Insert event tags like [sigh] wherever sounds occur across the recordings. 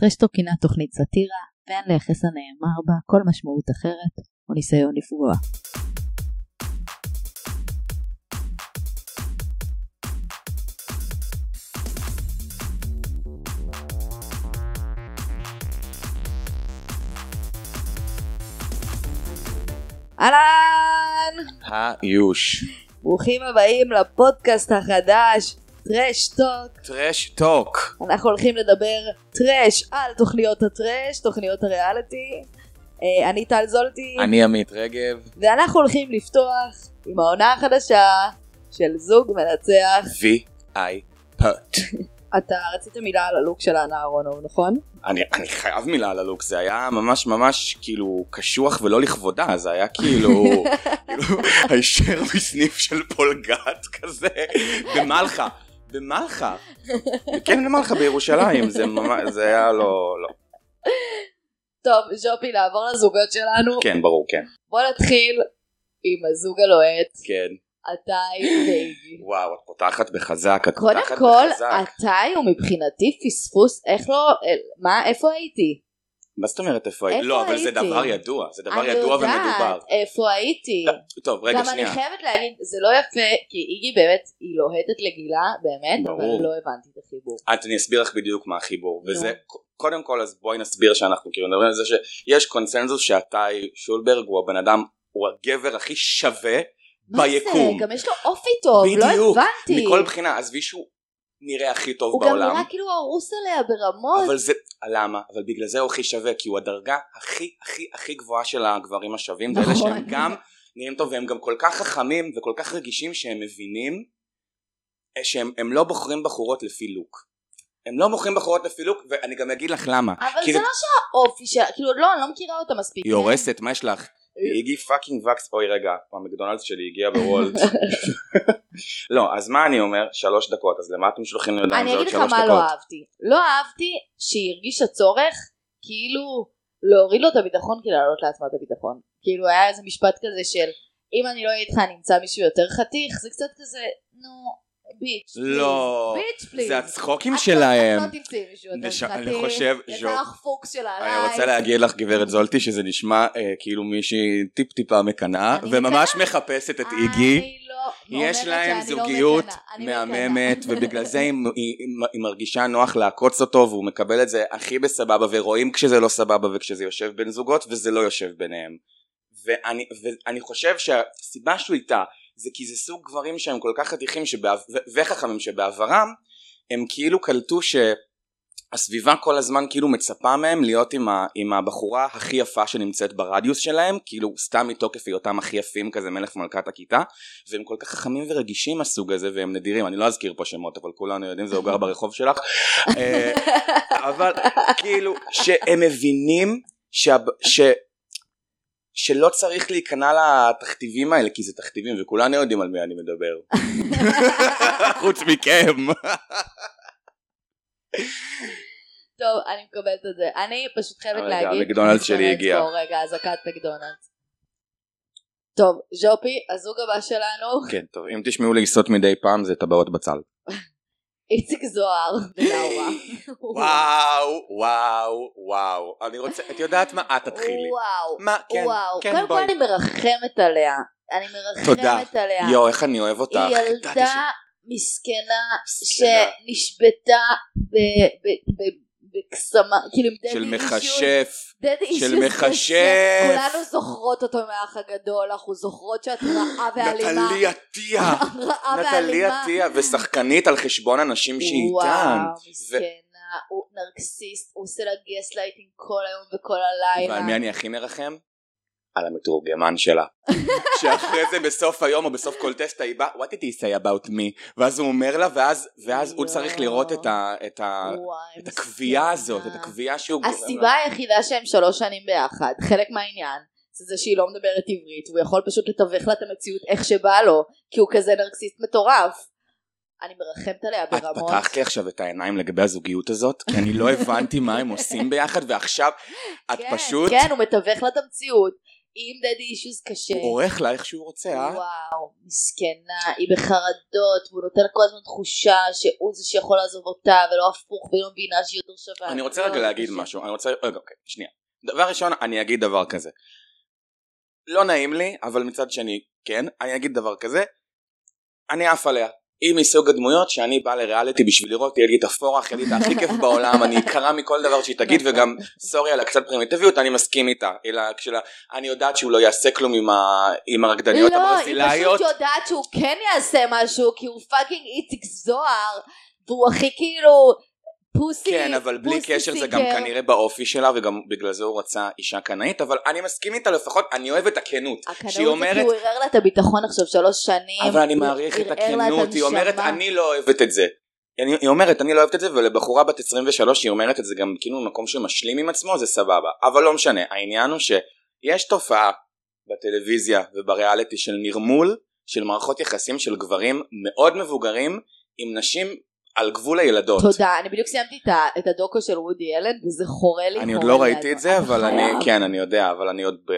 טרשטוק הינה תוכנית סאטירה, ואין לייחס הנאמר בה כל משמעות אחרת או ניסיון לפגוע. אהלן! האיוש. ברוכים הבאים לפודקאסט החדש, טרש טוק. טרש טוק. אנחנו הולכים לדבר טרש על תוכניות הטרש, תוכניות הריאליטי. אה, אני טל זולטי, אני עמית רגב, ואנחנו הולכים לפתוח עם העונה החדשה של זוג מנצח. V.I. פוט. אתה רצית מילה על הלוק של אנה אהרונוב, נכון? אני, אני חייב מילה על הלוק, זה היה ממש ממש כאילו קשוח ולא לכבודה, זה היה [laughs] כאילו כאילו, הישר מסניף של פולגת כזה, במלחה, במלחה. כן, במלחה בירושלים, זה ממש, זה היה לא, לא. טוב, ז'ופי, נעבור לזוגות שלנו. כן, ברור, כן. בוא נתחיל עם הזוג הלוהט, כן. עתאי ואיגי. וואו, את פותחת בחזק, את קודם פותחת כל, בחזק. עתאי הוא מבחינתי פספוס, איך לא, מה, איפה הייתי? מה זאת אומרת איפה היית? איפה לא, אבל זה הייתי? דבר ידוע, זה דבר אני ידוע ומדובר. יודעת איפה הייתי. לא, טוב, רגע, גם שנייה. אני חייבת להגיד, זה לא יפה, כי איגי באמת, היא לוהטת לגילה, באמת, אבל ברור. לא הבנתי את החיבור. את אני אסביר לך בדיוק מה החיבור נו. וזה ק- קודם כל אז בואי נסביר שאנחנו כאילו מדברים על זה שיש קונצנזוס שאיתי שולברג הוא הבן אדם הוא הגבר הכי שווה מה ביקום. זה? גם יש לו אופי טוב, לא בדיוק. הבנתי. מכל בחינה עזבי שהוא נראה הכי טוב הוא גם בעולם נראה כאילו הרוס עליה ברמות. אבל זה למה אבל בגלל זה הוא הכי שווה כי הוא הדרגה הכי הכי הכי גבוהה של הגברים השווים זה אלה נכון. שהם גם נראים טוב והם גם כל כך חכמים וכל כך רגישים שהם מבינים אה, שהם הם לא בוחרים בחורות לפי לוק הם לא בוחרים בחורות לפי לוק ואני גם אגיד לך למה אבל כי זה לא שהאופי שלה, כאילו, לא, אני לא מכירה אותה מספיק. כן? היא הורסת, מה יש לך? איגי פאקינג וקס, אוי רגע, המקדונלדס שלי הגיע בוולט. [laughs] לא, אז מה אני אומר? שלוש דקות, אז למה אתם שולחים לי ידיים אני זה אגיד עוד לך שלוש מה לא דקות? אהבתי. לא אהבתי שהיא הרגישה צורך, כאילו, להוריד לו את הביטחון כי להעלות לעצמה את הביטחון. כאילו היה איזה משפט כזה של, אם אני לא אהיה איתך אני אמצא מישהו יותר חתיך, זה קצת כזה, נו, ביץ', פליז. לא, ביץ', פליז. זה הצחוקים את לא- שלהם. את לא תמצאי מישהו יותר נש- חתיך. אני חושב, ז'ו- יצא לך פוקס שלה עליי. אני רוצה להגיד לך גברת זולטי שזה נשמע אה, כאילו מישהי טיפ טיפה מקנאה אני וממש מחפשת את איגי. אני לא יש אומרת להם שאני לא זוגיות מקנאה, אני לא מהממת מקנאה. ובגלל זה היא- היא היא מרגישה נוח לעקוץ אותו והוא מקבל את זה הכי בסבבה ורואים כשזה לא סבבה וכשזה יושב בין זוגות וזה לא יושב ביניהם. ואני, ואני חושב שהסיבה שהוא איתה זה כי זה סוג גברים שהם כל כך חתיכים שבע, ו- וחכמים שבעברם הם כאילו קלטו שהסביבה כל הזמן כאילו מצפה מהם להיות עם, ה, עם הבחורה הכי יפה שנמצאת ברדיוס שלהם כאילו סתם מתוקף היותם הכי יפים כזה מלך מלכת הכיתה והם כל כך חכמים ורגישים מהסוג הזה והם נדירים אני לא אזכיר פה שמות אבל כולנו יודעים זה הוא גר ברחוב שלך אה, אבל כאילו שהם מבינים שה, ש, שלא צריך להיכנע לתכתיבים האלה כי זה תכתיבים וכולנו יודעים על מי אני מדבר חוץ מכם [laughs] טוב, אני מקבלת את זה. אני פשוט חייבת רגע, להגיד... המקדונלדס שלי מתחרט הגיע. פה, רגע, אזעקת מקדונלדס. טוב, ז'ופי, הזוג הבא שלנו, [laughs] כן טוב אם תשמעו לי לסטות מדי פעם זה טבעות בצל איציק [laughs] זוהר ונאורה. וואו וואו וואו אני רוצה את יודעת מה את תתחילי וואו, מה כן וואו. כן, קודם כל בואי. אני מרחמת עליה. אני תודה. מרחמת עליה. יואו איך אני אוהב אותך היא ידעתי ילדה ש- מסכנה מסכנה. שנשבתה ב- ב- ב- בקסמה, כאילו עם דדי של אישיוס. מכשף דדי אישיוס של קשה. מכשף. כולנו זוכרות אותו מהאח הגדול, אנחנו זוכרות שאת [laughs] רעה ואלימה. נטלי עטיה [laughs] רעה נטלי ואלימה. עטיה ושחקנית על חשבון אנשים שהיא איתם וואו, מסכנה, הוא נרקסיסט, הוא עושה לה גס לייטינג כל היום וכל הלילה. ועל מי אני הכי מרחם? על המתורגמן [laughs] שלה. שאחרי זה בסוף היום או בסוף כל טסט היא באה, what did he say about me? ואז הוא אומר לה, ואז, ואז הוא לא. צריך לראות את, ה, את, ה, וואי, את הכווייה מסכנה. הזאת, את הכווייה שהוא גורם לה. הסיבה היחידה שהם שלוש שנים ביחד, חלק מהעניין, זה זה שהיא לא מדברת עברית, הוא יכול פשוט לתווך לה את המציאות איך שבא לו, כי הוא כזה נרקסיסט מטורף. אני מרחמת עליה את ברמות. פתחת לי עכשיו את העיניים לגבי הזוגיות הזאת, כי אני לא הבנתי מה הם עושים ביחד, ועכשיו את כן, פשוט... כן, הוא מתווך לה את המציאות. עם דדי אישוז קשה. הוא עורך לה איך שהוא רוצה, אה? כן. וואו, מסכנה, היא בחרדות, והוא נותן לה כל הזמן תחושה שהוא זה שיכול לעזוב אותה, ולא הפוך, והיא לא מבינה שהיא יותר שווה. אני רוצה לא, רגע זה להגיד קשה. משהו, אני רוצה, רגע, אוקיי, שנייה. דבר ראשון, אני אגיד דבר כזה. לא נעים לי, אבל מצד שני, כן, אני אגיד דבר כזה, אני עף עליה. היא מסוג הדמויות שאני בא לריאליטי בשביל לראות, יהיה לי את הפורח, יהיה לי [laughs] את הכי כיף בעולם, אני אקרא מכל דבר שהיא תגיד, נכון. וגם, סורי על הקצת פרימיטיביות, אני מסכים איתה. אלא כשלה, אני יודעת שהוא לא יעשה כלום עם, ה... עם הרקדניות לא, היא הברזילאיות. פשוט יודעת שהוא כן יעשה משהו, כי הוא פאקינג איציק זוהר, והוא הכי כאילו פוסי, כן, אבל בלי פוסי קשר זה גם סינגר. כנראה באופי שלה, וגם בגלל זה הוא רצה אישה קנאית, אבל אני מסכים איתה לפחות, אני אוהב את הכנות. הקנאות שהיא זה כי אומרת- הוא ערער לה את הביטחון עכשיו שלוש שנים. אבל אני הוא מעריך את ערער לה הכנות, היא אומרת הנשמה. אני לא אוהבת את זה. אני- היא אומרת אני לא אוהבת את זה ולבחורה בת 23 היא אומרת את זה גם כאילו ממקום שמשלים עם עצמו זה סבבה אבל לא משנה העניין הוא שיש תופעה בטלוויזיה ובריאליטי של נרמול של מערכות יחסים של גברים מאוד מבוגרים עם נשים על גבול הילדות. תודה, אני בדיוק סיימתי את ה- את הדוקו של וודי אלן, וזה חורה לי. אני עוד חורה לא לי ראיתי עד את זה מאוד. אבל אני חייב. כן אני יודע אבל אני עוד ב-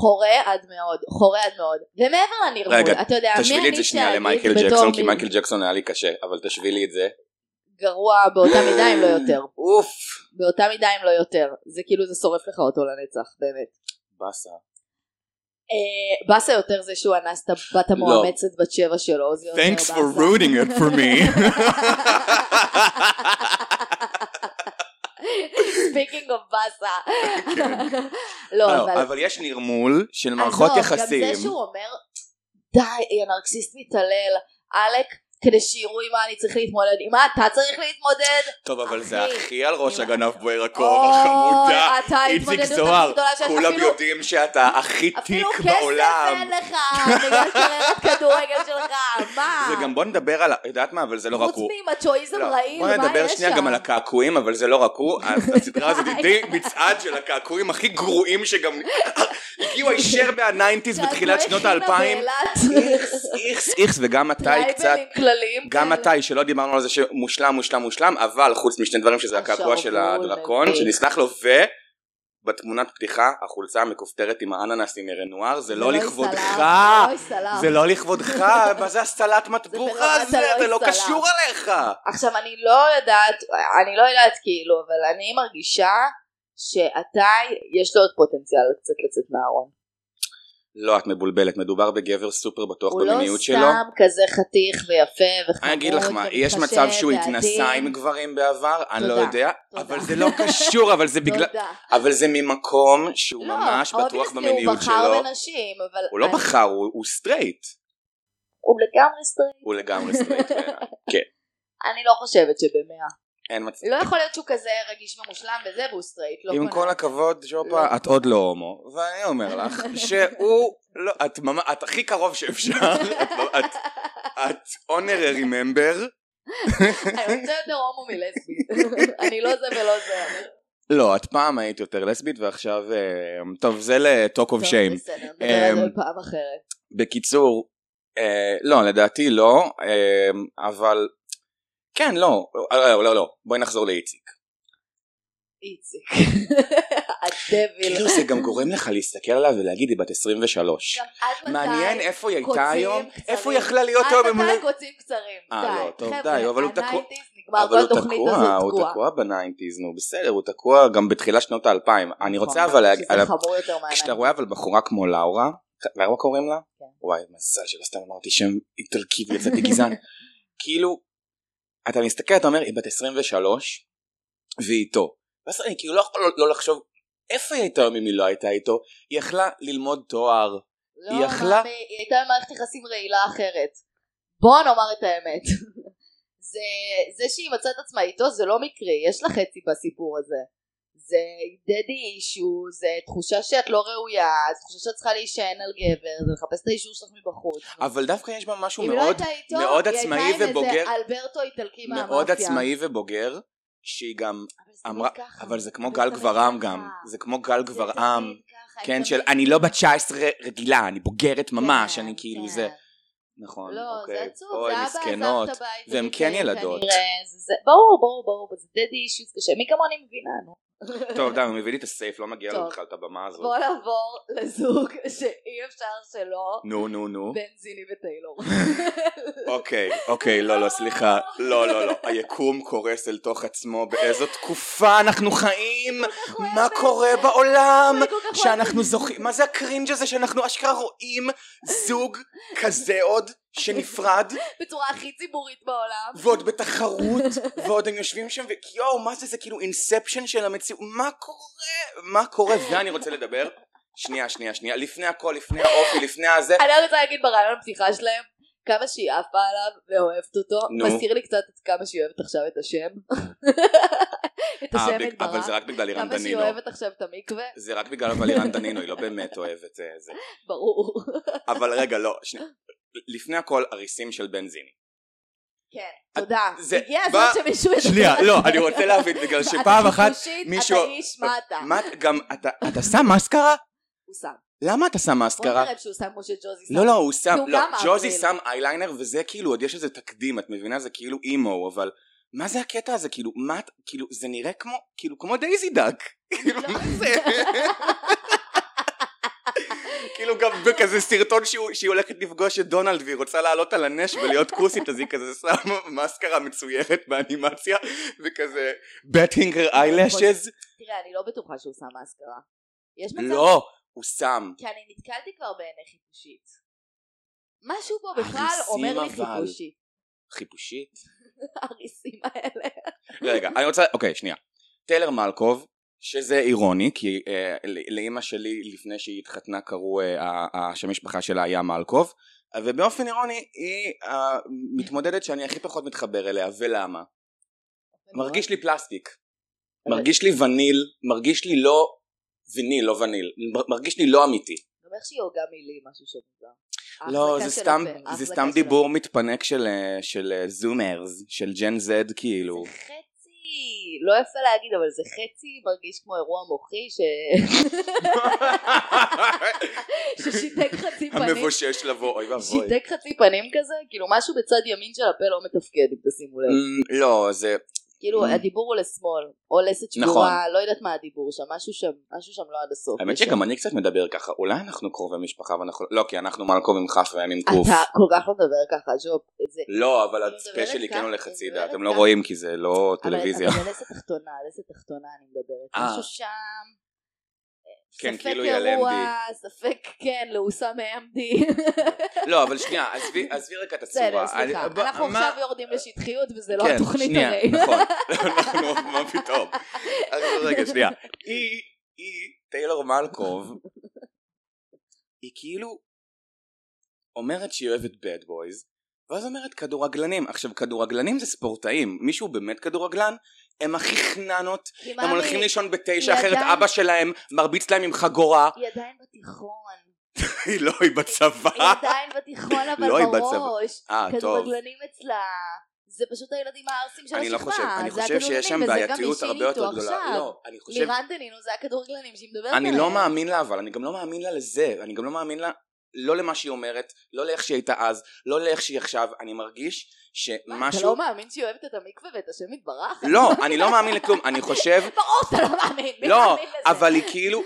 חורה עד מאוד, חורה עד מאוד. ומעבר לנרמול, רגע, אתה יודע, מי תשווילי את זה אני שנייה שאגיד למייקל בתור ג'קסון מי כי מייקל ג'קסון היה לי קשה אבל תשווילי את זה. גרוע באותה מידה אם לא יותר. אוף. באותה מידה אם לא יותר. זה כאילו זה שורף לך אותו לנצח, באמת. באסה. אה, באסה יותר זה שהוא אנס את הבת לא. המואמצת בת שבע שלו, זה יותר באסה. Thanks for ruining it for me. ספיקינג אוף [laughs] באסה. [laughs] לא, לא, אבל... אבל יש נרמול של מערכות עזוב, יחסים. גם זה שהוא אומר, די, היא הנרקסיסט מתעלל, עלק, כדי שיראו עם מה אני צריך להתמודד, עם מה אתה צריך להתמודד? טוב, אבל זה אחי, הכי על ראש אני- הגנב בוער הכוח, החמודה. אוי, אתה איציק ההתמודדות זוהר, הכי גדולה שיש כולם אפילו... יודעים שאתה הכי אפילו תיק כסף בעולם. אין לך, בגלל קריירת כדורגל שלך, מה? [laughs] זה גם בוא נדבר על, ה- יודעת מה, אבל זה לא רק חוץ הוא. ממאצ'ואיזם לא, רעיל, מה בוא יש שם? נדבר שנייה גם על הקעקועים, אבל זה לא רק הוא. [laughs] הסדרה הזאת היא די מצעד של הקעקועים הכי גרועים שגם [laughs] הגיעו הישר מהניינטיז בתחילת שנות האלפיים. איכס, איכס, איכס, וגם אתה היא קצת... טרייבלים כלליים. גם כאלה. מתי שלא דיברנו על זה שמושלם מושלם מושלם אבל חוץ משני דברים שזה הקעקוע של השרוול, הדרקון מביך. שנסלח לו ובתמונת פתיחה החולצה המכופתרת עם האננס עם רנואר זה לא יסלח, לכבודך זה לא יסלח. זה לא לכבודך מה זה הסלט מטבוח ברמת הזה הלא זה לא יסלח. קשור עליך עכשיו אני לא יודעת, אני לא יודעת כאילו, אבל אני מרגישה שעתאי יש לו עוד פוטנציאל קצת לצאת מהארון. לא את מבולבלת מדובר בגבר סופר בטוח הוא לא במיניות שלו סתם כזה חתיך ויפה וחמוד אני אגיד לך מה, ומתחשב יש מצב שהוא ועדין. התנסה עם גברים בעבר, אני לא תודה, יודע, תודה. אבל זה לא קשור, [laughs] אבל זה בגלל, תודה. אבל זה ממקום שהוא לא, ממש בטוח obviously במיניות הוא שלו. בחר בנשים, אבל... הוא לא אני- בחר, הוא, הוא סטרייט. הוא לגמרי סטרייט. הוא לגמרי סטרייט [laughs] בעיניי. אני לא חושבת שבמאה. אין מצב. לא יכול להיות שהוא כזה רגיש ומושלם וזה, והוא סטרייט. לא עם קונה. כל הכבוד, לא. ג'ופה, את עוד לא הומו. ואני אומר לך, שהוא, לא, את ממש, את הכי קרוב שאפשר. את- לא- את- את honorary member. אני רוצה יותר הומו [laughs] מלסבית. אני לא זה ולא זה. אבל- לא, את פעם היית יותר לסבית ועכשיו, אה, טוב, זה ל-talk טוב, of shame. בסדר, נדבר על אמ, זה פעם אחרת. בקיצור, אה, לא, לדעתי לא, אה, אבל... כן, לא, לא, לא, לא, בואי נחזור לאיציק. איציק. [laughs] הדביל. כאילו זה גם גורם לך להסתכל עליו ולהגיד, היא בת 23. גם עד מתי? אה, מעניין לא איפה היא הייתה קוצים היום, קצרים. איפה היא יכלה להיות היום. עד אם הוא- מתי קוצים קצרים? אה, די. לא, טוב, חבר'ה, די, אבל הוא תקוע. הניינטיז נגמר, אבל כל הוא התוכנית תקוע, הזאת הוא תקועה. תקוע בניינטיז, נו בסדר, הוא תקוע גם בתחילת שנות האלפיים. אני נכון, רוצה אבל להגיד, שזה חמור יותר כשאתה מהניינטיז. רואה אבל בחורה כמו לאורה, לאורה קוראים לה? כן. וואי, מזל שלא סתם אמרתי שם איטלקי ויצאתי [laughs] גזען. כאילו, אתה מסתכל, אתה אומר, היא בת 23, והיא איתו. ואז אני כאילו לא יכול לא לחשוב, איפה היא הייתה היום אם היא לא הייתה איתו? היא יכלה ללמוד תואר. לא, היא יכלה- מאמי, היא הייתה במערכת יחסים רעילה אחרת. בוא נאמר את האמת. [laughs] זה, זה שהיא מצאה את עצמה איתו זה לא מקרי, יש לה חצי בסיפור הזה. זה דדי אישו, זה תחושה שאת לא ראויה, זו תחושה שאת צריכה להישען על גבר, זה לחפש את האישור שלך מבחוץ. אבל דווקא יש בה משהו אם מאוד... לא הייתה איתו, מאוד היא עצמאי הייתה עם ובוגר. איזה אלברטו איטלקי מהמאפיה. מאוד עצמאי ובוגר, שהיא גם אבל זה תמיד אמרה- ככה. אבל זה כמו אבל גל תמיד גברעם ככה. גם, זה כמו גל זה גברעם, תמיד ככה, כן, היא של תמיד- אני לא בת 19 רגילה, אני בוגרת ממש, כן, אני כאילו כן. זה. נכון, לא, אוקיי. זה עצוב, אוי, זה אבא מסכנות. עזב את הבית. והן וזה כן כנראה, ילדות. זה- זה- ברור, ברור, ברור, זה דדי אישיוס קשה, מי כמוני מבינה, נו. טוב, די, הוא מביא לי את הסייף, לא מגיע לו טוב. בכלל את הבמה הזאת. בוא נעבור לזוג שאי אפשר שלא, נו, נו, נו. בן זיני וטיילור. [laughs] אוקיי, אוקיי, לא, לא, סליחה. לא, לא, לא. היקום קורס אל תוך עצמו. באיזו תקופה אנחנו חיים? מה קורה בעולם? אני כל כך אוהבת שאנחנו זוכרים, מה זה הקרינג' הזה שאנחנו אשכרה רואים זוג כזה עוד שנפרד בצורה הכי ציבורית בעולם. ועוד [laughs] בתחרות ועוד הם יושבים שם וכיואו מה זה זה כאילו אינספשן של המציאות מה קורה מה קורה ואני רוצה לדבר שנייה שנייה שנייה לפני הכל לפני האופי לפני הזה אני רק רוצה להגיד ברעיון הפתיחה שלהם, כמה שהיא עפה עליו ואוהבת אותו, נו. מזכיר לי קצת את כמה שהיא אוהבת עכשיו את [laughs] השם. את אה, השם בג- את אבל זה ברק. רק בגלל אירן כמה שהיא דנינו אוהבת עכשיו את המקווה, זה רק בגלל אבל אירן דנינו היא לא באמת אוהבת אה, זה ברור. אבל רגע לא שנייה. לפני הכל הריסים של בנזיני כן, תודה. זה- הגיע בא- הזמן שמישהו ידבר. שנייה על לא זה. אני רוצה להבין בגלל שפעם [laughs] אתה אחת שיפושית, מישהו- אתה איש, מה אתה? מה את- גם אתה אתה שם מסקרה הוא שם. למה אתה שם בוא מאסקרה? נראה שהוא שם כמו שג'וזי שם. לא לא הוא שם, אוקיי, כי הוא לא, גם ג'וזי אפריל. שם אייליינר וזה כאילו עוד יש איזה תקדים את מבינה זה כאילו אימו אבל מה זה הקטע הזה כאילו מה את- כאילו זה נראה כמו כאילו כמו דייזי דאק כאילו לא. מה זה? כאילו גם בכזה סרטון שהוא- שהיא הולכת לפגוש את דונלד והיא רוצה לעלות על הנש ולהיות כוסית אז היא כזה שמה מאסקרה מצוירת באנימציה וכזה לא, בטינגר איילשז תראה, אני לא בטוחה שהוא שם מאסקרה. יש מצב לא הוא שם כי אני נתקלתי כבר בעיני חיפושית. משהו בו בכלל הריסים אומר לי אבל. חיפושית. [laughs] חיפושית הריסים האלה. רגע, אני רוצה, אוקיי, שנייה. טיילר מלקוב, שזה אירוני, כי אה, ל- לאימא שלי לפני שהיא התחתנה קראו, אה, ה- ה- שם משפחה שלה היה מלקוב, ובאופן אירוני היא המתמודדת שאני הכי פחות מתחבר אליה, ולמה? מרגיש לי פלסטיק, מרגיש לי וניל, מרגיש לי לא וניל, לא וניל, מר- מרגיש לי לא אמיתי. זה אומר שהיא הוגה מילי, משהו שהוא מוזר. לא, ההחזקה זה של סתם, הפה, זה ההחזקה סתם של דיבור מתפנק של, אה, של אה, זומרס, של ג'ן זד כאילו. [laughs] הפה. זה חצי, לא יפה להגיד, אבל זה חצי מרגיש כמו אירוע מוחי ש... [laughs] ששיתק חצי פנים. המבושש לבוא, אוי ואבוי. שיתק חצי פנים כזה, כאילו משהו בצד ימין של הפה לא מתפקד, אם תשימו לב. אמ, לא זה כאילו Mm. הדיבור הוא לשמאל, או לסת נכון. שבורה, לא יודעת מה הדיבור שם, משהו שם, משהו שם לא עד הסוף. האמת שגם אני קצת מדבר ככה אולי אנחנו קרובי משפחה ואנחנו לא כי אנחנו מלקום עם כף והם עם קוף אתה כל כך לא מדבר ככה, ג'וב. זה- לא אבל אני הפה מדברת שלי ככה, כן הולך אני הצידה מדברת אתם לא ככה. רואים כי זה לא אבל- [laughs] טלוויזיה אבל לסת תחתונה, לסת תחתונה אני מדברת. אה. משהו שם. אה, כן, ספק כאילו יעל אירוע, MD. ספק כן, לעוסה [laughs] מ-MD. לא אבל שנייה עזבי עזבי רגע את בסדר, הצורה סליחה. אני- ב- אנחנו מה- אה, עכשיו יורדים לשטחיות וזה לא כן, התוכנית שנייה, הרי. [laughs] נכון אנחנו מה פתאום אז רגע [laughs] שנייה היא היא טיילור מלקוב היא כאילו אומרת שהיא אוהבת בד בויז ואז אומרת כדורגלנים עכשיו כדורגלנים זה ספורטאים מישהו באמת כדורגלן הם הכי חננות כי הם מאמי, הולכים לישון בתשע אחרת עדיין- אבא שלהם מרביץ להם עם [laughs] חגורה היא עדיין [laughs] בתיכון. היא לא היא היא בצבא עדיין בתיכון לא, אבל היא בראש. אה טוב כדורגלנים אצלה. זה פשוט הילדים הערסים של אני השכבה. לא חושב אני זה חושב שיש הכדורגלנים, וזה שם גם מי בעייתיות שהיא הרבה יותר איתו גדולה עכשיו. לא אני חושב לירן דנינו זה הכדורגלנים שהיא מדברת עליהם. אני לא מאמין לה אבל אני גם לא מאמין לה לזה אני גם לא מאמין לה לא למה שהיא אומרת לא לאיך שהיא הייתה אז לא לאיך שהיא עכשיו אני מרגיש מה, אתה לא שמשהו מאמין שהיא אוהבת את המקווה ואת השם יתברך? לא אני לא מאמין לכלום אני [laughs] חושב ברור שאתה לא מאמין. מי לא מאמין לזה? אבל היא כאילו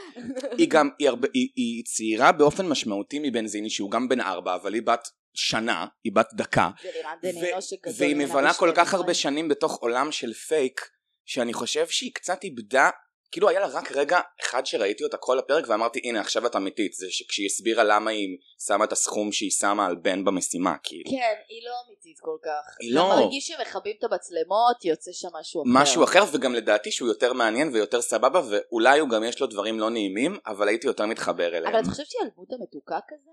היא גם היא, הרבה, היא, היא צעירה באופן משמעותי מבנזיני שהוא גם בן ארבע אבל היא בת שנה היא בת דקה זה לירן ו- דנינו שגדול. והיא ממנה מבלה כל בשתי כך הרבה דקות. שנים בתוך עולם של פייק שאני חושב שהיא קצת איבדה כאילו היה לה רק רגע אחד שראיתי אותה כל הפרק ואמרתי הנה עכשיו את אמיתית זה שכשהיא הסבירה למה היא שמה את הסכום שהיא שמה על בן במשימה כאילו כן, היא לא אמיתית כל כך. היא לא. אתה מרגיש לא. שמכבים את המצלמות, יוצא שם משהו אחר. משהו אחר וגם לדעתי שהוא יותר מעניין ויותר סבבה ואולי הוא גם יש לו דברים לא נעימים אבל הייתי יותר מתחבר אבל אליהם אתה חושב שהיא על דמות המתוקה כזה?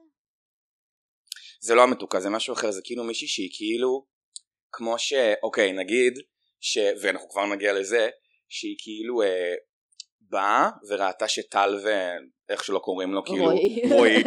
זה לא המתוקה זה משהו אחר זה כאילו מישהי שהיא כאילו כמו ש... אוקיי נגיד ש... ואנחנו כבר נגיע לזה שהיא כאילו אה, באה וראתה שטל ו... איך שלא קוראים לו, כאילו, רועי. רועי,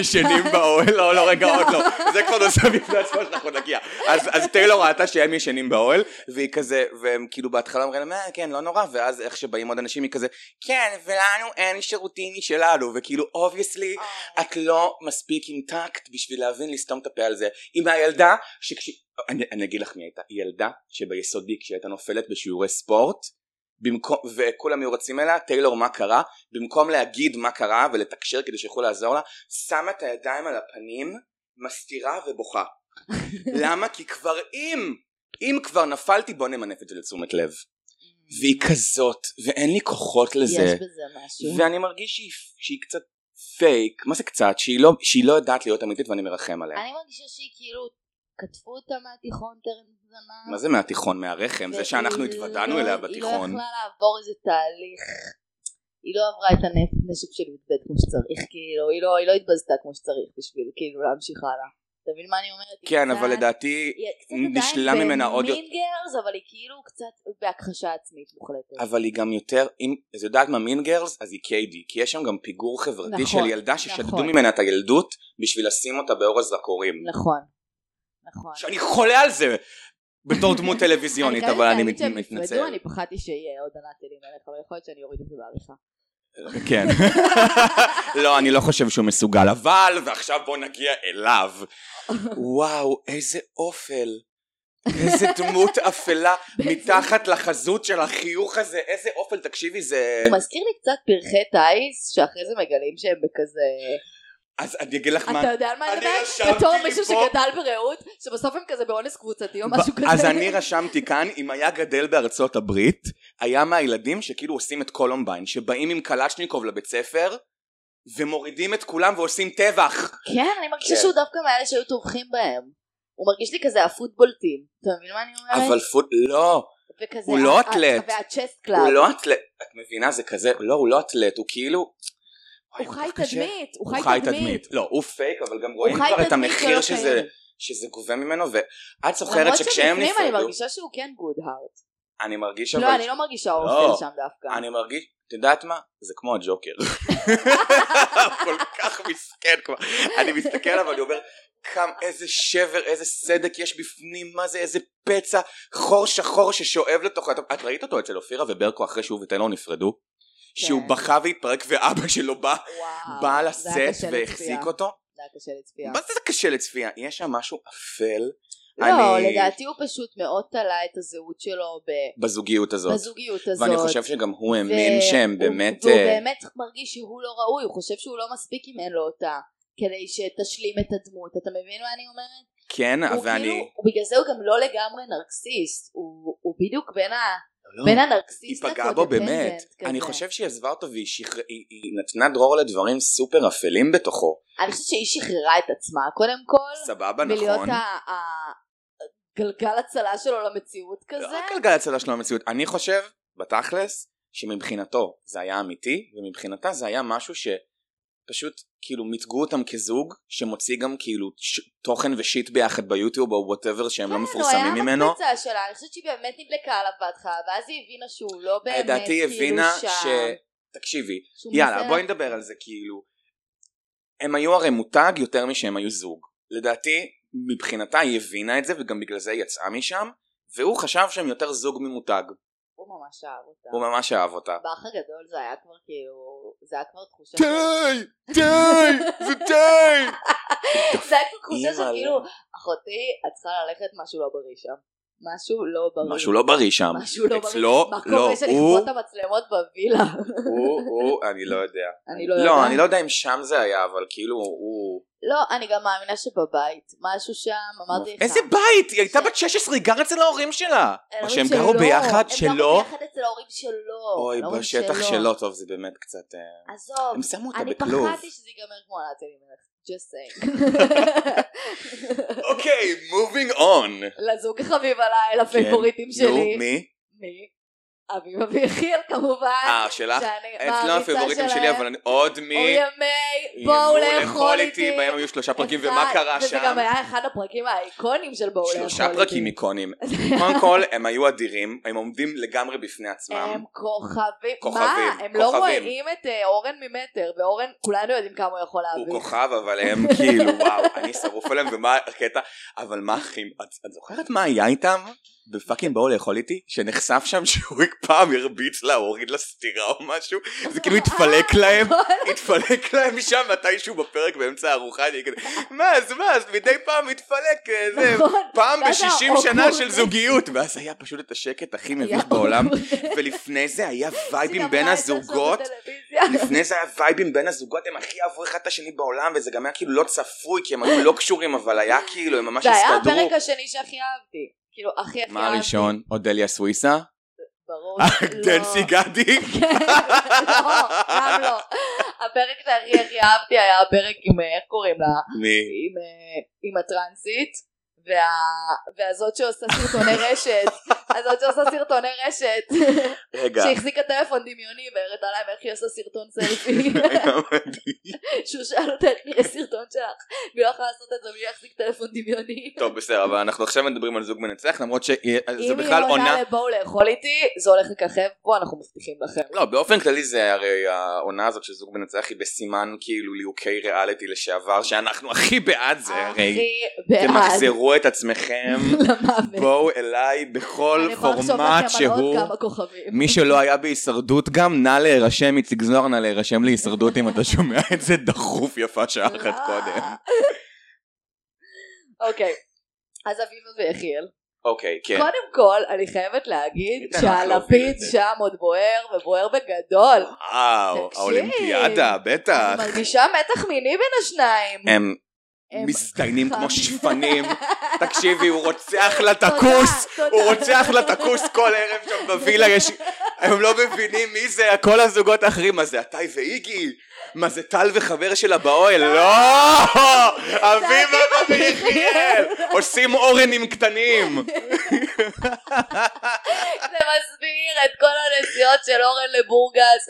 ישנים באוהל, לא, לא, רגע, עוד לא, זה כבר נושא בפני עצמו שאנחנו נגיע. אז, אז טיילור ראתה שהם ישנים באוהל, והיא כזה, והם כאילו בהתחלה אומרים להם, "אה, כן, לא נורא, ואז איך שבאים עוד אנשים, היא כזה, כן, ולנו אין שירותים משלנו, וכאילו, אובייסלי, את לא מספיק עם טקט בשביל להבין לסתום את הפה על זה. עם הילדה, שכש... אני, אני אגיד לך מי הייתה, היא ילדה שביסודי כשהיא הייתה נופלת בשיעורי ספורט, במקום, וכולם היו רצים אליה, טיילור מה קרה, במקום להגיד מה קרה ולתקשר כדי שיוכלו לעזור לה, שמה את הידיים על הפנים, מסתירה ובוכה. למה? כי כבר אם, אם כבר נפלתי בוא נמנף את זה לתשומת לב. והיא כזאת, ואין לי כוחות לזה. אה, יש בזה משהו. ואני מרגיש שהיא, שהיא קצת פייק, מה זה קצת? שהיא לא, שהיא לא יודעת להיות אמיתית ואני מרחם עליה. אני מרגישה שהיא כאילו, כתבו אותה מהתיכון טרם זמן. מה זה מהתיכון, מהרחם? זה שאנחנו והיא התוודענו לא- אליה היא לא בתיכון. יכלה לעבור איזה תהליך. היא לא עברה את הנשק של י"ב כמו שצריך, כאילו, היא לא, היא לא התבזתה כמו שצריך בשביל כאילו להמשיך הלאה. אתה מבין מה אני אומרת? היא כן, קצת- אבל לדעתי, היא קצת נשללה עדיין ממנה עוד יותר. במין גרס, אבל היא כאילו קצת בהכחשה עצמית מוחלטת. אבל היא גם יותר, אם אז יודעת מה מין גרלס, אז היא קיידי, כי יש שם גם פיגור חברתי נכון, של ילדה ששדדו נכון. ממנה את הילדות בשביל לשים אותה באור הזרקורים. נכון. נכון. שאני חולה על זה! בתור [laughs] דמות טלוויזיונית, אבל אני מת- אני חייבת להגיד שהם מתנצל. נפרדו, אני פחדתי שיהיה עוד ענת אלים עליך, אבל יכול להיות שאני אוריד את זה [laughs] בעריכה. כן. לא, אני לא חושב שהוא מסוגל, אבל, ועכשיו בוא נגיע אליו. וואו, איזה אופל. איזה [laughs] דמות אפלה מתחת לחזות של החיוך הזה, איזה אופל, [laughs] תקשיבי, זה... הוא מזכיר לי קצת פרחי טיס, שאחרי זה מגלים שהם בכזה... אז אני אגיד לך מה... אתה לא יודע על מה אני אני מדברת? רשמתי בתור לי מישהו פה- שגדל ברעות, שבסוף הם כזה באונס קבוצתי או משהו ב- כזה. אז אני רשמתי כאן, אם היה גדל בארצות הברית, היה מהילדים שכאילו עושים את קולומביין, שבאים עם קלצ'ניקוב לבית ספר, ומורידים את כולם ועושים טבח. כן, אני מרגישה כן. שהוא דווקא מאלה שהיו טובחים בהם. הוא מרגיש לי כזה עפות בולטים. אתה מבין מה אני אומרת? אבל פוט... לא. וכזה הוא לא ה- אתלט. ה- והצ'סט הוא קלאב. לא אתלט, את מבינה זה כזה, לא הוא לא אתלט, הוא כאילו... וואי, הוא כל חי כך קשה. תדמית, הוא הוא חי תדמית. לא, הוא פייק, אבל גם הוא רואים חי כבר את תדמית אוקיי. המחיר שלא שזה, קיימת. שזה גובה ממנו, ואת זוכרת שכשהם למרות שבפנים אני נפרדו, מרגישה שהוא כן גוד הארט. אני מרגיש לא, אבל, אני לא מרגישה אורפל לא. שם דווקא. אני מרגיש, את יודעת מה? זה [laughs] כמו הג'וקר. כל כך מסכן כבר. אני מסתכל עליו ואני אומר, כמה, איזה שבר, איזה סדק יש בפנים, מה זה, איזה פצע, חור שחור ששואב לתוכו. את- את ראית אותו אצל אופירה וברקו אחרי שהוא וטיילור נפרדו? שהוא בכה והתפרק ואבא שלו בא, כן. וואו, בא זה היה לסט קשה לצפייה. והחזיק אותו? זה היה קשה לצפייה. מה זה זה קשה לצפייה? יש שם משהו אפל לא, אני- לדעתי הוא פשוט מאוד תלה את הזהות שלו ב- בזוגיות הזאת. בזוגיות הזאת. ואני חושב שגם הוא האמין והוא- שהם באמת... והוא אה, באמת מרגיש שהוא לא ראוי, הוא חושב שהוא לא מספיק אם אין לו אותה, כדי שתשלים את הדמות, אתה מבין מה אני אומרת? כן, הוא ואני... כאילו, הוא- בגלל זה הוא גם לא לגמרי נרקסיסט, הוא הוא בדיוק בין ה- לא. בין היא הנרקסיסט פגעה בו באמת. לקודפנדנט אני כזה. חושב שהיא עזבה אותו והיא שחר... היא, היא נתנה דרור לדברים סופר אפלים בתוכו. אני חושבת שהיא שחררה את עצמה קודם כל, סבבה, מלהיות נכון. ה- ה- גלגל הצלה שלו למציאות לא כזה. רק על גלגלצלה שלו המציאות. אני חושב, בתכלס, שמבחינתו זה היה אמיתי, ומבחינתה זה היה משהו שפשוט כאילו מיתגו אותם כזוג, שמוציא גם כאילו ש... תוכן ושיט ביחד ביוטיוב או וואטאבר שהם לא מפורסמים כן, הוא ממנו. היה מקפצה שלה, אני חושבת שהיא באמת נדלקה עליו בהתחלה, ואז היא הבינה שהוא לא באמת, אה, לדעתי היא כאילו, הבינה שם, ש... תקשיבי, שהוא יאללה מנסה בואי לה- נדבר על זה כאילו הם היו הרי מותג יותר משהם היו זוג לדעתי מבחינתה היא הבינה את זה וגם בגלל זה היא יצאה משם והוא חשב שהם יותר זוג ממותג הוא ממש אהב אותה. הוא ממש אהב אותה באח הגדול זה היה כבר כאילו, זה היה כבר תחושה כן! של... די! די! זה [laughs] די! זה היה כבר תחושה של אימא'לה. כאילו, אחותי, את צריכה ללכת משהו לא בריא שם. משהו לא בריא. משהו לא בריא שם משהו לא בריא. אצלו, מה לא, קורה הוא- שלכבוד המצלמות בווילה? [laughs] הוא, הוא, אני לא יודע אני לא לא, יודעת. אני לא יודע אם שם זה היה אבל כאילו הוא לא, אני גם מאמינה שבבית, משהו שם, אמרתי לך. איזה בית! היא הייתה ש- בת 16, היא גרה אצל ההורים שלה או אלוהים שהם שלו. גרו ביחד, לא, הם שלא גרו ביחד אצל ההורים שלו. אוי, ההורים בשטח שלו, טוב, זה באמת קצת... אה, עזוב, הם שמו אותה אני בכלוב. פחדתי שזה ייגמר כמו ענת אלימלך, just saying. [laughs] אוקיי, moving on. כן, לזוג החביב עליי, לפייבוריטים שלי. נו, מי? מי? אביב אביחיל כמובן. אה, שלך? שאני אצלם מעריצה הפבוריטים שלי, שלהם. אבל אני- עוד מי... אוריה מיי, בואו לאכול איתי. בהם היו שלושה פרקים, אחד- ומה קרה וזה שם? גם היה אחד הפרקים האיקונים של בואו לאכול איתי. שלושה פרקים [laughs] איקונים. קודם כל, הם היו אדירים, הם עומדים לגמרי בפני עצמם. הם כוכבים. כוכבים, מה? הם לא כוכבים. רואים את אה, אורן ממטר, ואורן, כולנו יודעים כמה הוא יכול הוא להביא. [laughs] כוכב, אבל הם כאילו, וואו, אני שרוף עליהם, ומה הקטע? אבל מה אחים, את את זוכרת מה היה איתם? בפאקינג באו לאכול איתי? שנחשף שם שהוא פעם הרביץ לה, הוריד לה סטירה או משהו? זה כאילו התפלק להם. נכון. התפלק להם משם מתישהו בפרק באמצע הארוחה, אני כזה, מה אז מה אז מדי פעם מתפלק, אה, זה נכון. פעם ואז בשישים העוקרות. שנה של זוגיות, ואז היה פשוט את השקט הכי מביך בעולם, ולפני זה היה וייבים בין הזוגות, לפני זה היה וייבים בין הזוגות, הם הכי אהבו אחד את השני בעולם, וזה גם היה כאילו לא צפוי, כי הם היו לא קשורים, אבל היה כאילו, הם ממש זה היה הסתדרו. הפרק השני שהכי אהבתי. כאילו, הכי הכי אהבתי. מה הראשון? אודליה סוויסה? ברור. אה, לא. דלסי גדי? כן, [laughs] לא, גם לא. הפרק שהכי הכי אהבתי היה הפרק עם, אה, איך קוראים לה? מי? עם, אה, עם הטרנסית וה, והזאת שעושה סרטוני רשת, הזאת שעושה סרטוני [laughs] רשת, רגע. שהחזיקה טלפון דמיוני והראתה להם איך היא עושה סרטון סלפי, [laughs] שהוא שאל אותה תראה סרטון שלך, והיא לא יכולה לעשות את זה בלי להחזיק טלפון דמיוני. טוב בסדר אבל אנחנו עכשיו מדברים על זוג מנצח למרות שזה אם היא בכלל עונה עונה לבואו לאכול איתי, זה הולך לככב פה, אנחנו מבטיחים לכם. לא באופן כללי זה הרי העונה הזאת של זוג מנצח היא בסימן כאילו ליהוקי ריאליטי לשעבר שאנחנו הכי בעד זה הרי הכי בעד. תמחזרו את עצמכם [laughs] למוות. בואו אליי בכל אני יכולה לחשוב פורמט לכם על עוד שהוא כמה כוכבים. מי שלא היה בהישרדות גם נא להירשם איציק זוהר נא להירשם להישרדות אם אתה שומע את זה דחוף יפה שעה אחת קודם. אה. [laughs] אוקיי, אז אביבה ויחיאל. אוקיי כן. קודם כל, אני חייבת להגיד ניתן לך להוביל שהלפיד את זה. שם עוד בוער, ובוער בגדול. וואו תקשיב. האולימפיאדה בטח. אני מרגישה מתח מיני בין השניים. הם הם מזדיינים כמו חם. [laughs] שפנים. תקשיבי, הוא רוצח לה את תודה, הכוס, תודה. הוא רוצח לה את הכוס כל ערב שם בווילה, יש... הם לא מבינים מי זה, כל הזוגות האחרים, מה זה עתאי ואיגי? מה זה טל וחבר שלה באוהל? לא! אביבה ויחיאל! עושים אורנים קטנים! [laughs] זה מסביר את כל הנסיעות של אורן לבורגס.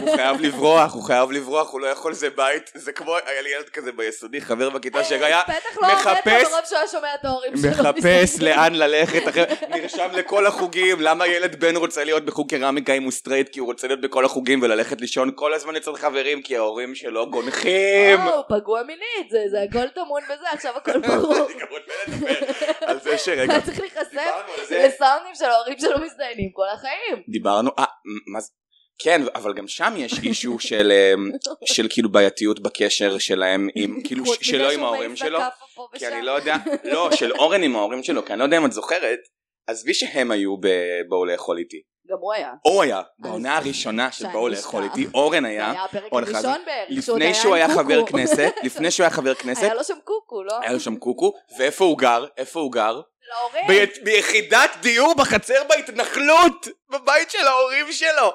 הוא חייב לברוח, הוא חייב לברוח, הוא לא יכול, זה בית, זה כמו, היה לי ילד כזה ביסודי, חבר בכיתה שהיה בטח לא עובד לו מחפש- מרוב שהוא היה שומע את ההורים שלו. מחפש מסתכלים. לאן ללכת, אחרי, נרשם לכל החוגים, למה ילד בן רוצה להיות בחוג קרמיקה אם הוא סטרייט, כי הוא רוצה להיות בכל החוגים וללכת לישון כל הזמן אצל חברים, כי ההורים שלו גונחים. או, הוא פגוע מינית, זה- זה הכל טמון בזה, עכשיו הכל [laughs] ברור. אני גם רוצה לדבר על זה [laughs] שרגע, היה צריך להיחשף דיברנו על זה, לסאונדים של ההורים שלו מזדיינים כל החיים. דיברנו, אה, מה זה? כן, אבל גם שם יש אישו של אמ, של כאילו בעייתיות בקשר שלהם, עם, כאילו חוץ מזה שלא עם שהוא ההורים מעיף שלו. לכאפה פה כי ושם. אני לא יודע, לא, של אורן עם ההורים שלו, כי אני לא יודע אם את זוכרת, עזבי שהם היו ב"בואו לאכול איתי". גם הוא היה. הוא היה, בעונה הראשונה של שאני "בואו לאכול אשכח. איתי", אורן זה היה, היה הפרק עוד אחד. הראשון בערך. שהוא עוד לפני שהוא עם היה חבר קוקו. [laughs] כנסת, לפני שהוא היה חבר כנסת, היה לו שם קוקו, לא? היה לו שם קוקו, ואיפה הוא גר? איפה הוא גר? של ההורים. ב- ביחידת דיור בחצר בהתנחלות, בבית של ההורים שלו.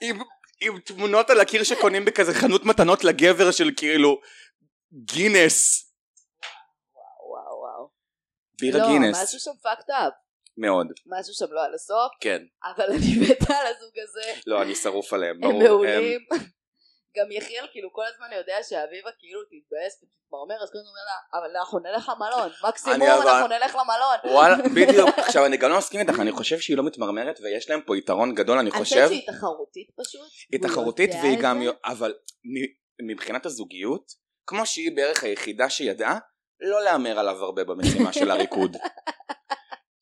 עם, עם תמונות על הקיר שקונים בכזה חנות מתנות לגבר של כאילו גינס. וואו וואו. בירה לא, גינס. משהו שם fucked up. מאוד. משהו שם לא על הסוף, כן. אבל אני [laughs] מתה על הזוג הזה. לא, אני שרוף עליהם, ברור. הם מעולים. [laughs] גם יחיאל כאילו כל הזמן יודע שאביבה כאילו תתבאס ותתמרמר, אז כל הזמן אומר לה, אבל אנחנו נלך למלון. מקסימום אני אבל- אנחנו נלך למלון. וואלה, בדיוק. עכשיו, אני גם לא מסכים איתך, אני חושב שהיא לא מתמרמרת, ויש להם פה יתרון גדול, אני אני חושב. חושבת שהיא תחרותית פשוט. היא והוא תחרותית לא יודע והיא את גם... זה. אבל מ- מבחינת הזוגיות, כמו שהיא בערך היחידה שידעה, לא להמר עליו הרבה במשימה [laughs] של הריקוד.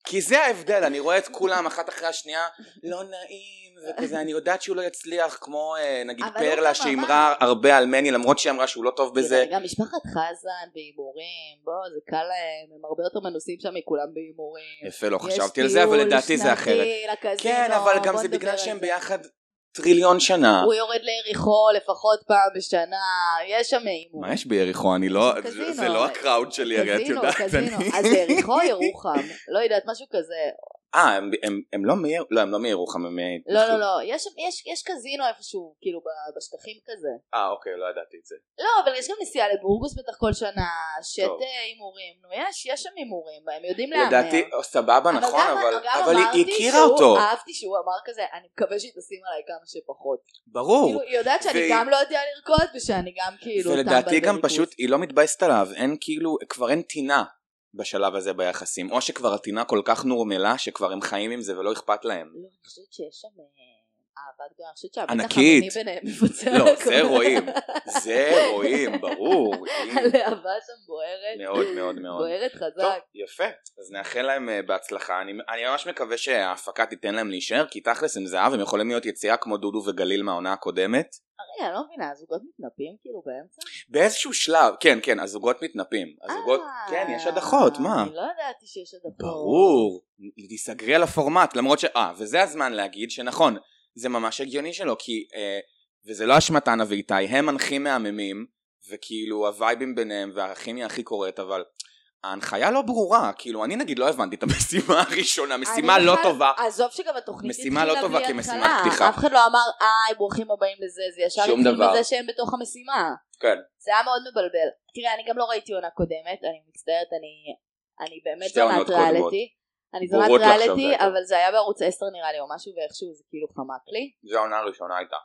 כי זה ההבדל, אני רואה את כולם אחת אחרי השנייה, לא נעים, וכזה, אני יודעת שהוא לא יצליח, כמו אה, נגיד אבל הוא גם פרלה שהימרה אמר. הרבה על מני, למרות שהיא אמרה שהוא לא טוב בזה. תראה, גם משפחת חזן בהימורים, בוא, זה קל להם, הם הרבה יותר מנוסים שם מכולם בהימורים. יפה, לא יש חשבתי על זה, אבל טיול לדעתי זה שנתי אחרת. לקזינו, כן, אבל גם בוא זה נדבר בגלל על שהם זה. ביחד טריליון שנה. הוא יורד ליריחו לפחות פעם בשנה, יש שם הימורים. מה יש ביריחו? אני לא... קזינו. זה לא הקראוד שלי, הרי את יודעת. קזינו, אני- קזינו. אז יריחו ירוחם, לא יודעת, משהו כזה. [laughs] אה, הם- הם- הם לא מיהרו, לא, הם לא מיהרו לך מ... מ- לא לא לא, יש, יש, יש קזינו איפשהו, כאילו ב- בשטחים כזה. אה, אוקיי, לא ידעתי את זה. לא, אבל יש גם נסיעה לבורגוס בטח כל שנה, טוב. שט אה, הימורים, נו יש, יש שם הימורים, הם יודעים להמר. לדעתי, סבבה, לא, אבל נכון, גם- אבל... גם אבל היא אמרתי הכירה שהוא- אותו. אהבתי שהוא אמר כזה, אני מקווה שהיא תשים עליי כמה שפחות. ברור. כאילו, היא יודעת שאני והיא- גם לא יודע לרקוד ושאני גם כאילו... ולדעתי טמבל גם בריקוד. פשוט היא לא מתבאסת עליו, אין כאילו, כבר אין טינה בשלב הזה ביחסים, או שכבר הטינה כל כך נורמלה שכבר הם חיים עם זה ולא אכפת להם. [laughs] לא, אני חושבת שיש שם אה, אהבה גדולה, אני חושבת שהמתח ענקית. המיני ביניהם [laughs] מבוצע. לא, הכל. זה רואים, זה רואים, ברור. [laughs] אם- הלהבה שם בוערת. מאוד מאוד מאוד. בוערת טוב, חזק. יפה, אז נאחל להם אה, בהצלחה, אני, אני ממש מקווה שההפקה תיתן להם להישאר, כי תכלס הם זהב, הם יכולים להיות יציאה כמו דודו וגליל מהעונה הקודמת. רגע, אני לא מבינה, הזוגות מתנפים כאילו באמצע? באיזשהו שלב, כן, כן, הזוגות מתנפים, הזוגות, אה, כן, יש הדחות, מה? אני לא ידעתי שיש הדחות. ברור, תיסגרי על הפורמט, למרות ש... אה, וזה הזמן להגיד שנכון, זה ממש הגיוני שלו, כי... אה, וזה לא אשמתן ואיתי, הם מנחים מהממים, וכאילו הווייבים ביניהם והכימיה הכי קורית, אבל ההנחיה לא ברורה, כאילו, אני נגיד לא הבנתי את המשימה [laughs] הראשונה, משימה אני לא בכלל- טובה. עזוב שגם התוכנית משימה התחילה לא טובה בלי כמשימת התחלה. פתיחה. אף אחד לא אמר, היי, ברוכים הבאים לזה, זה ישר שום התחיל דבר. בזה שהם בתוך המשימה. כן. זה היה מאוד מבלבל. תראה, אני גם לא ראיתי עונה קודמת, אני מצטערת, אני, אני באמת שתי עונות זונת קודמות. ריאליטי. אני זונת בורות לך עכשיו ריאליטי, זה הכל. אבל זה היה בערוץ 10 נראה לי, או משהו, ואיכשהו זה כאילו חמק לי. זו העונה הראשונה הייתה.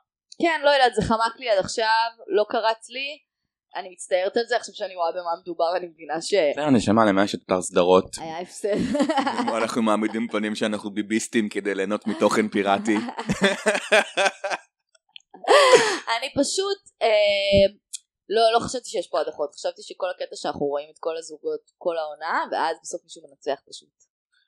כן, לא יודעת, זה חמק לי עד עכשיו, לא קרץ לי. אני מצטערת על זה, עכשיו שאני רואה במה מדובר, אני מבינה שהיה זה הנשמה למה יש את אתר [laughs] סדרות. הפסד. אנחנו מעמידים פנים שאנחנו ביביסטים כדי ליהנות מתוכן פיראטי. אני פשוט, אה, לא, לא חשבתי שיש פה הדחות, חשבתי שכל הקטע שאנחנו רואים את כל הזוגות כל העונה, ואז בסוף מישהו מנצח פשוט.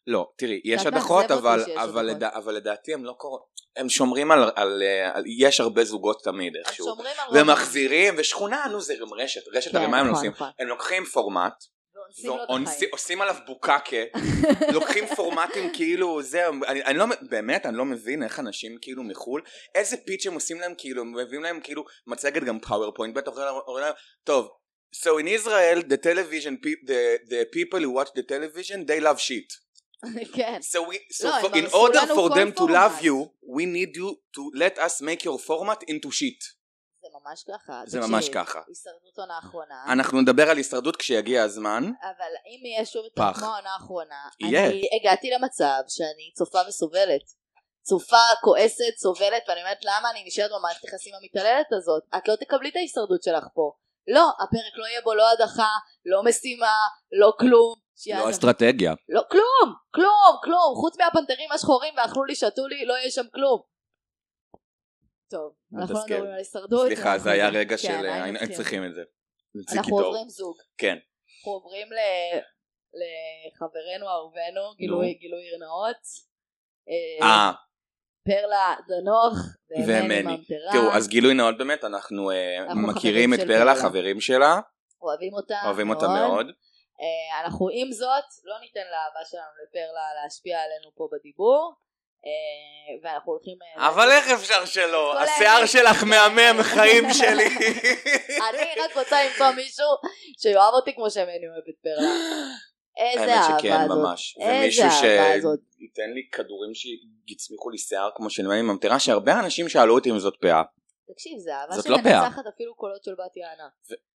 לא, תראי, יש קצת הדחות, מאכזב אותי אבל, שיש אבל, הדחות. לדע, אבל לדעתי הם לא קורות. הם שומרים על, על, אה, על... יש הרבה זוגות תמיד אז איכשהו. שומרים על רוב- ומחזירים, ושכונה, נו זה גם רשת, רשת כן, הרי מה הם נכון, עושים? נכון. הם לוקחים פורמט, ואונסים זו- לו את אונסי- החיים. עושים עליו בוקקה, [laughs] לוקחים פורמטים כאילו, זה, אני, אני לא, מ- באמת, אני לא מבין איך אנשים כאילו מחול, איזה פיץ' הם עושים להם כאילו, הם מביאים להם כאילו מצגת גם פאורפוינט, בטח אומרים להם- אומרים להם, טוב, so in Israel the television, pe- the, the people who watch the television they love shit. [laughs] כן. So, we, so לא, הם for, in הרסו order לנו כל for them to פורמט. love you, we need you to let us make your format into shit. זה ממש ככה. זה תקשיב, ממש ככה. הישרדות עונה אחרונה. אנחנו נדבר על הישרדות כשיגיע הזמן. אבל אם יהיה שוב את פח. כמו העונה האחרונה, יהיה. אני הגעתי למצב שאני צופה וסובלת. צופה, כועסת, סובלת, ואני אומרת למה אני נשארת במערכת היחסים המתעללת הזאת? את לא תקבלי את ההישרדות שלך פה. לא, הפרק לא יהיה בו לא הדחה, לא משימה, לא כלום. שיעזם. לא אסטרטגיה. לא, כלום, כלום, כלום, חוץ מהפנתרים השחורים ואכלו לי, שתו לי, לא יהיה שם כלום. טוב, אנחנו לא מתסכל. מדברים על הישרדות. סליחה, אנחנו- זה היה רגע של... אה, כן, היינו היינו צריכים. צריכים את זה. אנחנו עוברים זוג. כן. אנחנו עוברים ל- לחברנו אהובנו, גילוי גילוי נאות. אה, אה, פרלה דנוך ומני. ומני ממטרה. תראו, אז גילוי נאות באמת, אנחנו אה, אנחנו מכירים את חברים של פרלה, פרלה. חברים שלה, אוהבים אותה אוהבים אותה מאוד. אה, אנחנו עם זאת לא ניתן לאהבה שלנו לפרלה להשפיע עלינו פה בדיבור. אה, ואנחנו הולכים... אה, אבל איך אפשר שלא? כל השיער האמת. אה, שלך מהמם, [laughs] חיים שלי. אני רק רוצה למצוא מישהו שיאהב אותי כמו שמני אוהב את פרלה. איזה האמת אהבה שכן, הזאת. ממש. איזה ומישהו אהבה ש... הזאת. ייתן לי כדורים שיצמיחו לי שיער כמו של מני ממטרה שהרבה אנשים שאלו אותי אם זאת פאה תקשיב, זה אהבה זאת לא שמנצחת אפילו קולות של בת יענה.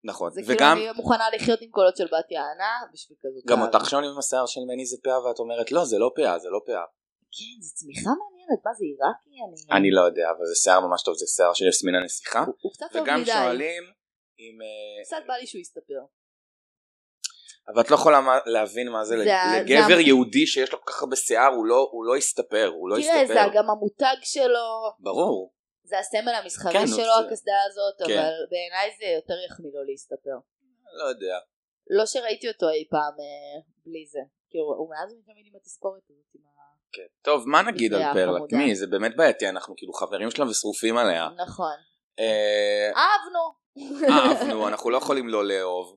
נכון זה כאילו וגם אני מוכנה לחיות עם קולות של בת יענה בשביל כזאת. גם אהבה. אותך שואלים אם השיער של מני זה פאה ואת אומרת לא זה לא פאה זה לא פאה כן, זו צמיחה מעניינת, מה זה עיראקי? אני לא יודע אבל זה שיער ממש טוב זה שיער של יסמינה נסיכה הוא- הוא קצת טוב וגם מדי. שואלים אם אה, קצת בא לי שהוא יסתפר. אבל את לא יכולה מה- להבין מה זה זה לג- ה- לגבר זה ה- יהודי שיש לו כל כך הרבה שיער הוא לא- הוא לא יסתפר הוא לא תראה, זה יסתפר גם המותג שלו, ברור זה הסמל המסחרי כן, שלו, זה- הקסדה הזאת, כן. אבל בעיניי זה יותר יחמיא לו להסתפר. לא יודע לא שראיתי אותו אי פעם אה, בלי זה. כאילו, הוא מאז ומתמיד עם התספורת הזאת. עם ה- כן. טוב מה נגיד על פאה פרלה חמודה. מי זה באמת בעייתי אנחנו כאילו חברים שלה ושרופים עליה נכון. אה, אהבנו. אהבנו, אנחנו לא יכולים לא לאהוב.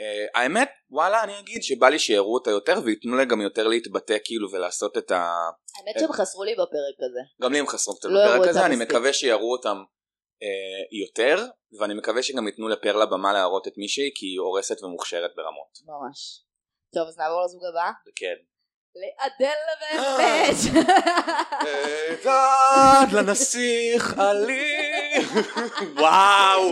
אה, האמת, וואלה, אני אגיד שבא לי שיראו אותה יותר וייתנו לה גם יותר להתבטא כאילו ולעשות את ה... [laughs] האמת שהם חסרו לי בפרק הזה. גם לי הם חסרו קצת לא הראו בפרק אותה הזה, אני מספיק. מקווה שיראו אותם אה, יותר, ואני מקווה שגם ייתנו לפרלה במה להראות את מישהי כי היא הורסת ומוכשרת ברמות. ממש. טוב, אז נעבור לזוג הבא. כן. לאדלה אה. באמת. עד לנסיך עלי. [laughs] וואו.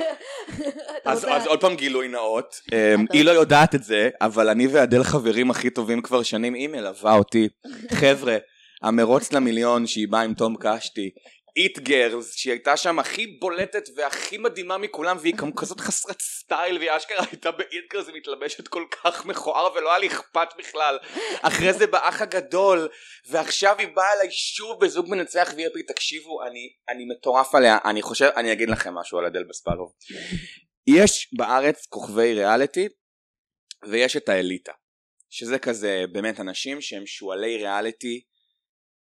אז אז עוד פעם גילוי נאות. אמ, היא לא יודעת את זה, אבל אני ואדל חברים הכי טובים כבר שנים, היא מלווה אותי. חבר'ה, המרוץ למיליון שהיא באה עם תום קשתי. איט גרס, שהיא הייתה שם הכי בולטת והכי מדהימה מכולם, והיא גם כזאת חסרת סטייל, והיא אשכרה הייתה באיט גרס ומתלבשת כל כך מכוער, ולא היה לי אכפת בכלל. אחרי זה באח הגדול, ועכשיו היא באה אליי שוב בזוג מנצח והיא פי תקשיבו אני אני מטורף עליה אני חושב אני אגיד לכם משהו על אדל בספרוב יש בארץ כוכבי ריאליטי ויש את האליטה שזה כזה באמת אנשים שהם שועלי ריאליטי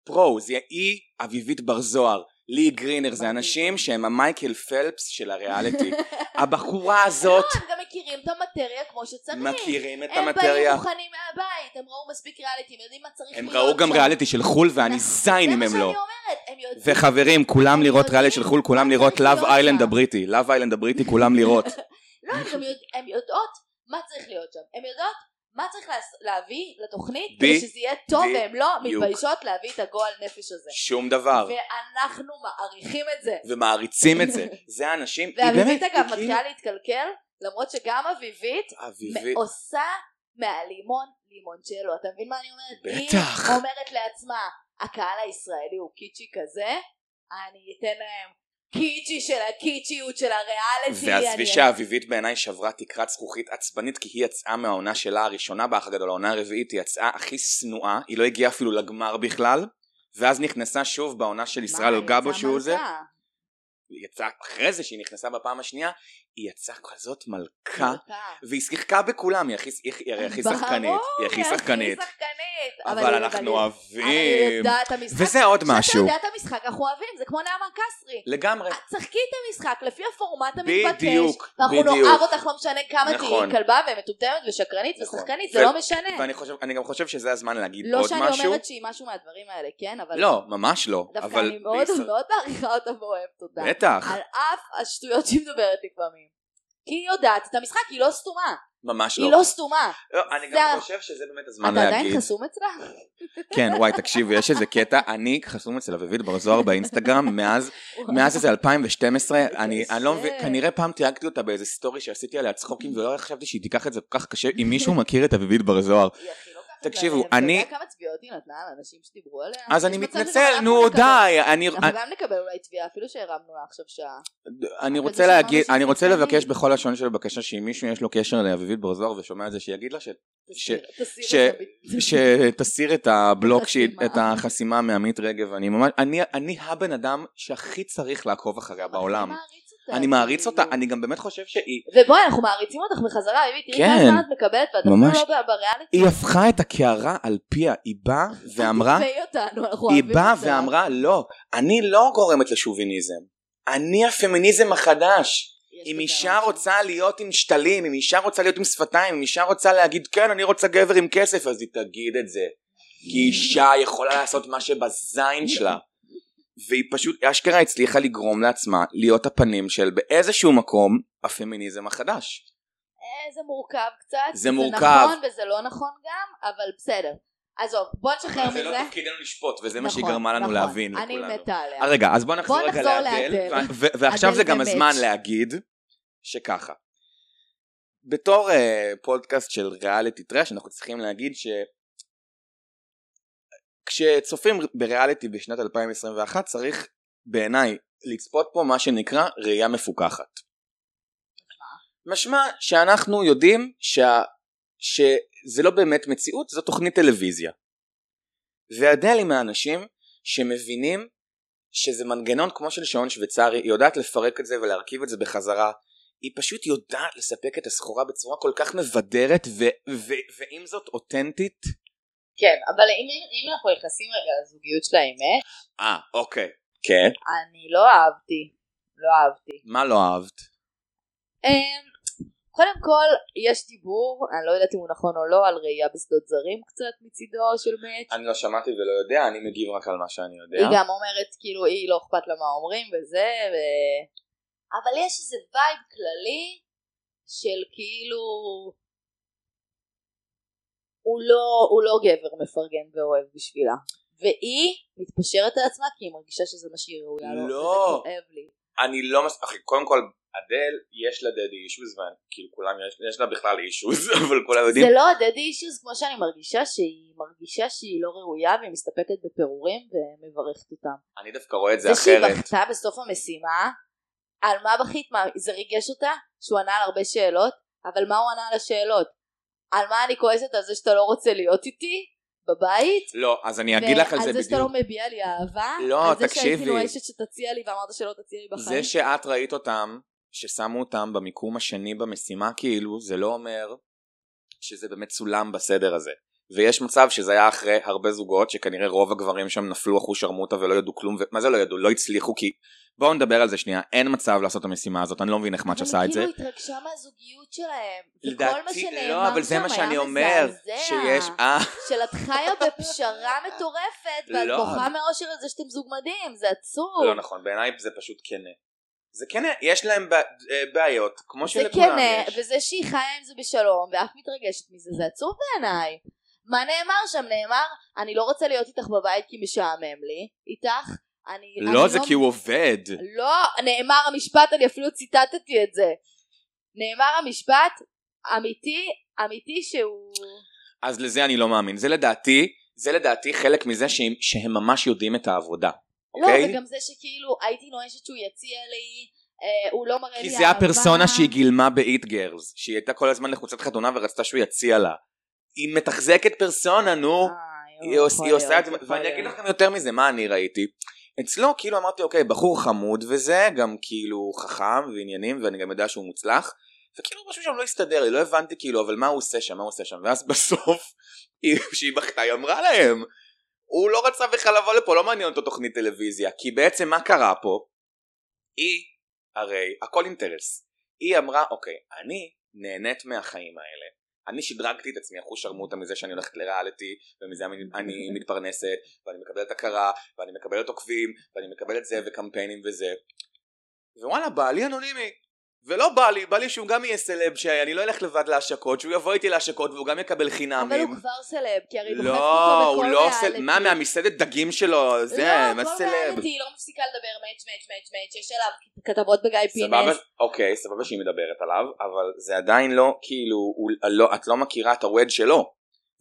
פרו זה היא אביבית בר זוהר לי גרינר זה אנשים שהם המייקל פלפס [laughs] של הריאליטי הבחורה הזאת הם גם מכירים את המטריה כמו שצריך. מכירים את אה, הם באים המטריה מוכנים מהבית, הם ראו מספיק ריאליטי, הם יודעים מה צריך הם להיות. ראו גם שם. נכון. ריאליטי של חו"ל ואני זין אם הם זה מה לא שאני אומרת, הם יודעים. וחברים, כולם לא לראות ריאלי של חו"ל, כולם לראות לאב איילנד הבריטי. לאב איילנד הבריטי, כולם [laughs] לראות. לא, הם גם יודע- הם יודעות מה צריך להיות שם. הם יודעות מה צריך לעש- להביא לתוכנית כדי שזה יהיה טוב, בדיוק. והן לא מתביישות להביא את הגועל נפש הזה. שום דבר. ואנחנו מעריכים את זה. [laughs] ומעריצים את זה. זה האנשים, היא ואביבית באמת, אגב היא מתחילה להתקלקל, למרות שגם אביבית כאילו- אביבית. עושה מהלימון לימונצ'לו, אתה מבין מה אני אומרת? בטח. היא אומרת לעצמה, הקהל הישראלי הוא קיצ'י כזה, אני אתן להם קיצ'י של הקיצ'יות של הריאליטי. ועזבי אני- שאביבית בעיניי שברה תקרת זכוכית עצבנית כי היא יצאה מהעונה שלה הראשונה באח הגדול, העונה הרביעית, היא יצאה הכי שנואה, היא לא הגיעה אפילו לגמר בכלל, ואז נכנסה שוב בעונה של ישראל מה, גבו יצא שהוא זה, מלכה. היא יצאה אחרי זה שהיא נכנסה בפעם השנייה, היא יצאה כזאת מלכה, מלכה. והיא שיחקה בכולם, היא הכי- היא- היא הרי הכי ברור, שחקנית, היא הכי שחקנית, שחקנית. אבל אנחנו אוהבים. יודעת את המשחק. וזה עוד כשאתה משהו. יודע את המשחק אנחנו אוהבים, זה כמו נעמה קסרי. לגמרי. את שחקי את המשחק לפי הפורמט בדיוק, המתבקש. ואנחנו בדיוק. נאהב אותך לא משנה כמה נכון. תהיי כלבה ומטומטמת ושקרנית נכון. ושחקנית, ו- זה לא משנה. ואני חושב, אני גם חושב שזה הזמן להגיד לא עוד שאני משהו. אומרת שהיא משהו מהדברים האלה, כן? אבל לא, ממש לא. דווקא אבל אני מאוד לא אה, בישראל- מאוד מעריכה אותה ואוהבת אותה. בטח, על אף השטויות שהיא מדברת לפעמים. כי היא יודעת את המשחק, היא לא סתומה. ממש היא לא. לא סתומה. לא, אני זה- גם חושב שזה באמת הזמן אתה עדיין להגיד. חסום אצלה? כן, וואי, תקשיבי, יש איזה קטע, אני חסום אצל אביבית בר זוהר באינסטגרם מאז מאז איזה 2012, אני, אני לא מבין, קשה. Mm. כנראה פעם תייגתי אותה באיזה סטורי שעשיתי עליה צחוקים ולא חשבתי שהיא תיקח את זה כל כך קשה, אם מישהו מכיר את אביבית בר זוהר. היא הכי לוקחת תקשיבו, להם. אתה אני- יודע כמה צביעות היא נתנה לאנשים שדיברו עליה? אז יש אני מצב שגם מתנצל, אנחנו נו נקבל. די, אני, אנחנו גם נקבל אולי תביעה, אפילו שהרמנו לה עכשיו שעה. אני אבל רוצה זה שאמרנו להגיד, שזה אני רוצה קטנים. לבקש בכל לשון של בקשה שאם מישהו יש לו קשר לאביבית בר זוהר ושומע את זה שיגיד [laughs] לה ש- ש- תסיר- תסיר ש- את זה. שתסיר את הבלוק, שהיא- חסימה. את החסימה מעמית רגב, אני ממש, אני, אני הבן אדם שהכי צריך לעקוב אחריה אני בעולם. מעריץ אותה. אני מעריץ אותה, כאילו. אני גם באמת חושב שהיא, ובואי, אנחנו מעריצים אותך בחזרה, אביבי, תראי כן. כמה זמן את מקבלת, ואת ממש. אפילו לא ב- בריאליטי. היא הפכה את הקערה על פיה, היא באה [laughs] ואמרה, תתבעי אותנו, אנחנו היא אוהבים באה אותה. ואמרה לא, אני לא גורמת לשוביניזם, אני הפמיניזם החדש. יש אם בזה אישה משהו. רוצה להיות עם שתלים, אם אישה רוצה להיות עם שפתיים, אם אישה רוצה להגיד כן אני רוצה גבר עם כסף, אז היא תגיד את זה. כי אישה יכולה לעשות מה שבזין שלה. והיא פשוט, אשכרה הצליחה לגרום לעצמה להיות הפנים של באיזשהו מקום הפמיניזם החדש. אה, זה מורכב קצת. זה מורכב. זה נכון וזה לא נכון גם, אבל בסדר. עזוב, בוא נשחרר מזה. זה לא תפקידנו לשפוט, וזה מה שהיא נכון, גרמה לנו נכון. להבין אני לכולנו. מתה עליה. אה, רגע, אז בוא נחזור בוא רגע נחזור לאדל, לאדל. ו- ו- ועכשיו אדל זה גם באמת. הזמן להגיד שככה. בתור אה, פודקאסט של ריאליטי טראש, אנחנו צריכים להגיד ש... כשצופים בריאליטי בשנת 2021, צריך בעיניי לצפות פה מה שנקרא ראייה מפוקחת. משמע שאנחנו יודעים שה... שזה לא באמת מציאות, זו תוכנית טלוויזיה. ואדל היא מהאנשים שמבינים שזה מנגנון כמו של שעון שוויצרי, היא יודעת לפרק את זה ולהרכיב את זה בחזרה. היא פשוט יודעת לספק את הסחורה בצורה כל כך מבדרת ו- ו- ועם זאת אותנטית. כן, אבל אם, אם אנחנו נכנסים רגע לזוגיות של האמת, אה, אוקיי. כן. אני לא אהבתי. לא אהבתי. מה לא אהבת? אמ, קודם כל, יש דיבור, אני לא יודעת אם הוא נכון או לא, על ראייה בשדות זרים קצת מצידו של מאץ'. אני לא שמעתי ולא יודע, אני מגיב רק על מה שאני היא יודע. גם אומרת, כאילו, היא לא אכפת לה מה אומרים וזה, ו... אבל יש איזה וייב כללי של כאילו... הוא לא, הוא לא גבר מפרגן ואוהב בשבילה. והיא מתפשרת על עצמה כי היא מרגישה שזה מה שהיא ראויה לו. לא. וזה כואב לי. אני לא מס... אחי, קודם כל, אדל, יש לה דדי אישוז, וכאילו כאילו, כולם, יש, יש לה בכלל אישוז, [laughs] אבל כולם יודעים. זה לא הדדי אישיוז כמו שאני מרגישה שהיא מרגישה שהיא לא ראויה והיא מסתפקת בפירורים ומברכת אותם. אני דווקא רואה את זה לא- זה שהיא אחרת. בכתה בסוף המשימה, על מה בכית? מה, זה ריגש אותה? שהוא ענה על הרבה שאלות? אבל מה הוא ענה על השאלות? על מה אני כועסת? על זה שאתה לא רוצה להיות איתי? בבית? לא, אז אני אגיד לך על זה על זה שאתה לא בדיוק. מביע לי אהבה? לא, על זה שהייתי תקשיבי. נואשת שתציע לי ואמרת שלא תציע לי בחיים? זה שאת ראית אותם, ששמו אותם במיקום השני במשימה, כאילו, זה לא אומר שזה באמת צולם בסדר הזה. ויש מצב שזה היה אחרי הרבה זוגות, שכנראה רוב הגברים שם נפלו אחושרמוטה ולא ידעו כלום, ומה זה לא ידעו? לא הצליחו כי... בואו נדבר על זה שנייה, אין מצב לעשות את המשימה הזאת, אני לא מבין איך מאץ' עשה את זה. אבל היא כאילו התרגשה מהזוגיות שלהם. וכל מה שנאמר לא, אבל זה שם מה היה שאני אומר, מזעזע. שיש... אה, של את חיה בפשרה [laughs] מטורפת, ואת לא. בוכה מאושר על זה שאתם זוג מדהים, זה עצוב. לא נכון, בעיניי זה פשוט כנה. זה כנה, יש להם ב- אה, בעיות, כמו זה שלכולם כן, יש. וזה שהיא חיה עם זה בשלום, ואף מתרגשת מזה, זה עצוב בעיניי. מה נאמר שם? נאמר, אני לא רוצה להיות איתך בבית כי משעמם לי, איתך. אני, לא, אני זה כי הוא עובד. לא, נאמר המשפט, אני אפילו ציטטתי את זה. נאמר המשפט, אמיתי, אמיתי שהוא... אז לזה אני לא מאמין. זה לדעתי, זה לדעתי חלק מזה שהם, שהם ממש יודעים את העבודה. לא, אוקיי. וגם זה שכאילו, הייתי נואשת שהוא יציע לי, אה, הוא לא מראה לי כי זה הפרסונה שהיא גילמה באיט גרלס, שהיא הייתה כל הזמן לחוצת חתונה ורצתה שהוא יציע לה. היא מתחזקת פרסונה, אה. נו. היא עוש- היא עושה את זה, ואני אגיד לכם יותר מזה, מה אני ראיתי? אצלו כאילו אמרתי אוקיי בחור חמוד וזה גם כאילו חכם ועניינים ואני גם יודע שהוא מוצלח וכאילו משהו שם לא הסתדר לי לא הבנתי כאילו אבל מה הוא עושה שם מה הוא עושה שם ואז [laughs] בסוף היא- שהיא בכתה היא אמרה להם הוא לא רצה בכלל לבוא לפה לא מעניין אותו תוכנית טלוויזיה כי בעצם מה קרה פה היא הרי הכל אינטרס היא אמרה אוקיי אני נהנית מהחיים האלה אני שדרגתי את עצמי אחוז שרמוטה מזה שאני הולכת לריאליטי ומזה אני, אני מתפרנסת ואני מקבלת הכרה ואני מקבלת עוקבים ואני מקבלת זה וקמפיינים וזה ווואלה בעלי אנונימי ולא בא לי, בא לי שהוא גם יהיה סלב שאני לא אלך לבד להשקות שהוא יבוא איתי להשקות והוא גם יקבל אבל חינמים הוא כבר סלב, כי הרי דוחפת לא, אותו בכל הוא לא ריאליטי. עושה, מה מהמסעדת דגים שלו, זה, מה לא, כל סלב? ריאליטי היא לא מפסיקה לדבר מאץ' מאץ' מאץ' מאץ', יש עליו כתבות בגיא סבבה, פינס. אוקיי, סבבה שהיא מדברת עליו, אבל זה עדיין לא, כאילו, הוא- לא- את לא מכירה את הווד שלו.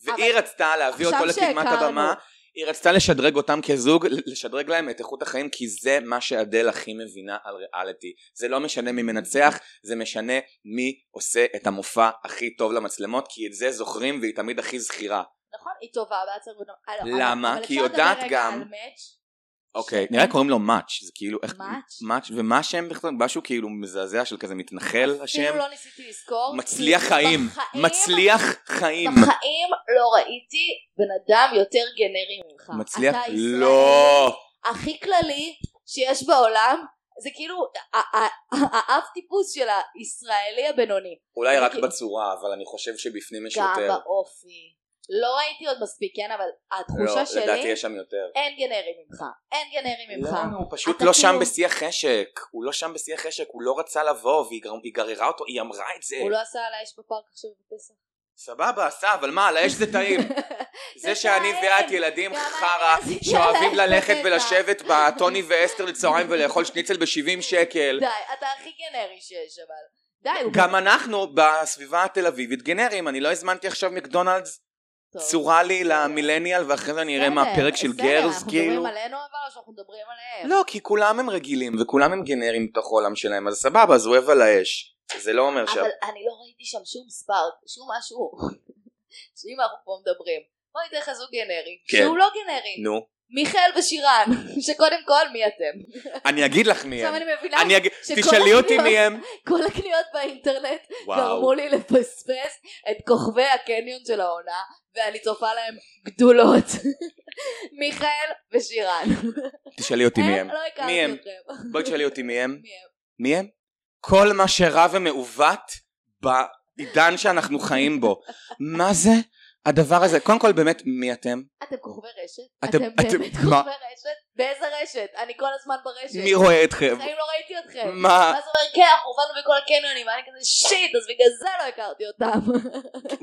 והיא אבל- רצתה להביא עכשיו אותו לקדמת שהכרנו. הבמה, היא רצתה לשדרג אותם כזוג, לשדרג להם את איכות החיים, כי זה מה שאדל הכי מבינה על ריאליטי. זה לא משנה מי מנצח, זה משנה מי עושה את המופע הכי טוב למצלמות, כי את זה זוכרים והיא תמיד הכי זכירה. נכון, היא טובה בעצבות. למה? כי היא יודעת גם- אבל אפשר לדבר רגע על מאץ'? אוקיי, נראה לי קוראים לו מאץ', זה כאילו, איך, מאץ'? מאץ', ומה השם בכלל, משהו כאילו מזעזע של כזה מתנחל השם, אפילו לא ניסיתי לזכור. מצליח כי חיים, בחיים- מצליח חיים, בחיים לא ראיתי בן אדם יותר גנרי ממך. מצליח, אתה ישראל לא, הכי כללי שיש בעולם, זה כאילו ה- ה- ה- האב טיפוס של הישראלי הבינוני. אולי רק אוקיי. בצורה, אבל אני חושב שבפנים יש גם יותר, באופי. לא ראיתי עוד מספיק, כן, אבל לא, התחושה לדעתי שלי, יש שם יותר, אין גנרי ממך. אין גנרי ממך. לא, הוא פשוט אתה לא שם כאילו- בשיא החשק, הוא לא שם בשיא החשק, הוא לא רצה לבוא, והיא גר- היא גררה אותו, היא אמרה את זה, הוא לא עשה על האש בפארק עכשיו בפסח. סבבה, עשה, אבל מה, על האש [laughs] זה טעים, זה זה שאני טעים. ואת ילדים גם אני [laughs] חרא עשיתי שאוהבים עליי ללכת בטבע. ולשבת בטוני ואסתר לצהריים ולאכול שניצל ב-70 שקל. די, אתה הכי גנרי שיש, אבל. די, אה, הוא לא. גם אנחנו בסביבה התל אביבית גנריים, אני לא הזמנתי עכשיו מקדונלדס, טוב. צורה לי למילניאל ואחרי זה אני אראה בסדר, מהפרק של בסדר, גרס, אנחנו כאילו. מדברים עלינו אבל או שאנחנו מדברים עליהם? לא, כי כולם הם רגילים וכולם הם גנריים בתוך העולם שלהם, אז סבבה, אז הוא אוהב על האש. זה לא אומר ש... אבל אני לא ראיתי שם שום ספארק, שום משהו. שאם אנחנו פה מדברים. בוא ניתן לך זוג גנרי, כן. שהוא לא גנרי. נו. מיכאל [laughs] ושירן, שקודם כל מי אתם? אני אגיד לך מי עכשיו הם. אני מבינה, אני אגיד, שכל תשאלי אותי הקניות- [laughs] מי הם. כל הקניות באינטרנט וואו. גרמו לי לפספס את כוכבי הקניון של העונה, ואני צופה להם גדולות. [laughs] מיכאל ושירן. תשאלי אותי מי הם? הם. לא מי הם? הכרתי אתכם. בואי תשאלי אותי מי הם. מי הם? מי הם? כל מה שרע ומעוות בעידן שאנחנו חיים בו. מה זה הדבר הזה? קודם כל באמת, מי אתם? אתם כוכבי רשת? אתם- אתם אתם- באמת מה? כוכבי רשת? באיזה רשת? אני כל הזמן ברשת. מי רואה אתכם? בחיים לא ראיתי אתכם. אתכם. אוקיי. מה, ואז הוא אומר, כן, אנחנו הובלנו בכל הקניונים, ואני כזה שיט, אז בגלל זה לא הכרתי אותם.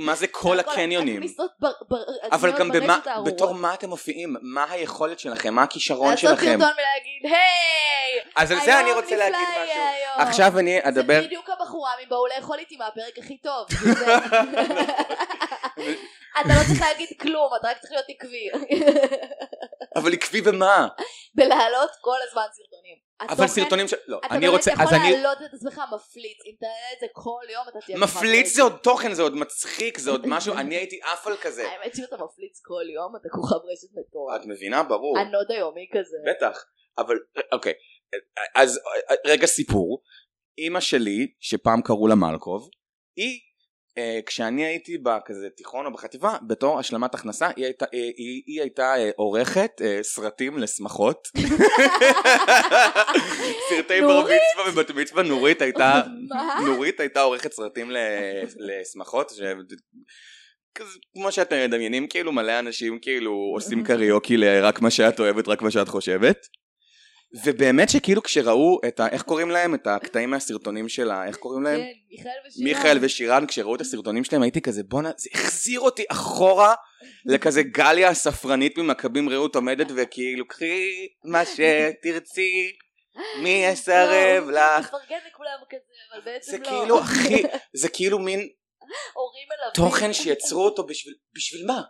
מה זה [laughs] כל כל הקניונים? הכניסות בר- בר- אבל גם הקניון במה, ברשת הארורות. בתור מה אתם מופיעים? מה היכולת שלכם? מה הכישרון לעשות שלכם? סרטון ולהגיד, היי! אז על זה היום אני רוצה נפלא להגיד יהיה משהו. היום." עכשיו אני אדבר, זה בדיוק הבחורה מבאו לאכול איתי מהפרק הכי [laughs] טוב. זה- אתה לא צריך להגיד כלום, אתה רק צריך להיות עקבי. [laughs] אבל עקבי במה? בלהעלות כל הזמן סרטונים. אבל התוכן- סרטונים של... לא, אתה אני באמת רוצה... אז יכול אני... להעלות את עצמך מפליץ, אם תעלה את זה כל יום אתה תהיה... מפליץ זה עוד תוכן, זה עוד מצחיק, זה עוד משהו, אני הייתי עף על [laughs] כזה. האמת שאם אתה מפליץ כל יום אתה כוכב רשת מטורף. את מבינה? ברור. הנוד היומי [laughs] כזה. בטח. אבל, אוקיי. אז רגע סיפור. אימא שלי, שפעם קראו לה מלקוב, היא, אה, כשאני הייתי בכזה תיכון או בחטיבה, בתור השלמת הכנסה, היא הייתה, אה, היא, היא הייתה אה, עורכת אה, סרטים לשמחות. סרטי בר נורית? מצווה ובת מצווה, נורית הייתה, מה? נורית הייתה עורכת סרטים ל- [laughs] לשמחות, ש... כזה, כמו שאתם מדמיינים, כאילו מלא אנשים כאילו עושים קריוקי ל"רק מה שאת אוהבת, רק מה שאת חושבת". ובאמת שכאילו כשראו את ה... איך קוראים להם? את הקטעים מהסרטונים שלה, איך קוראים להם? כן, מיכאל ושירה. מיכאל ושירן, כשראו את הסרטונים שלהם, הייתי כזה, בואנה, זה החזיר אותי אחורה לכזה גליה הספרנית ממכבים רעות עומדת, וכאילו, קחי מה שתרצי, מי יסרב לך. לא, מפרגן לכולם כזה, אבל בעצם זה לא. כאילו, אחי, זה כאילו [laughs] מין הורים מלווים. תוכן שיצרו אותו בשביל, בשביל מה?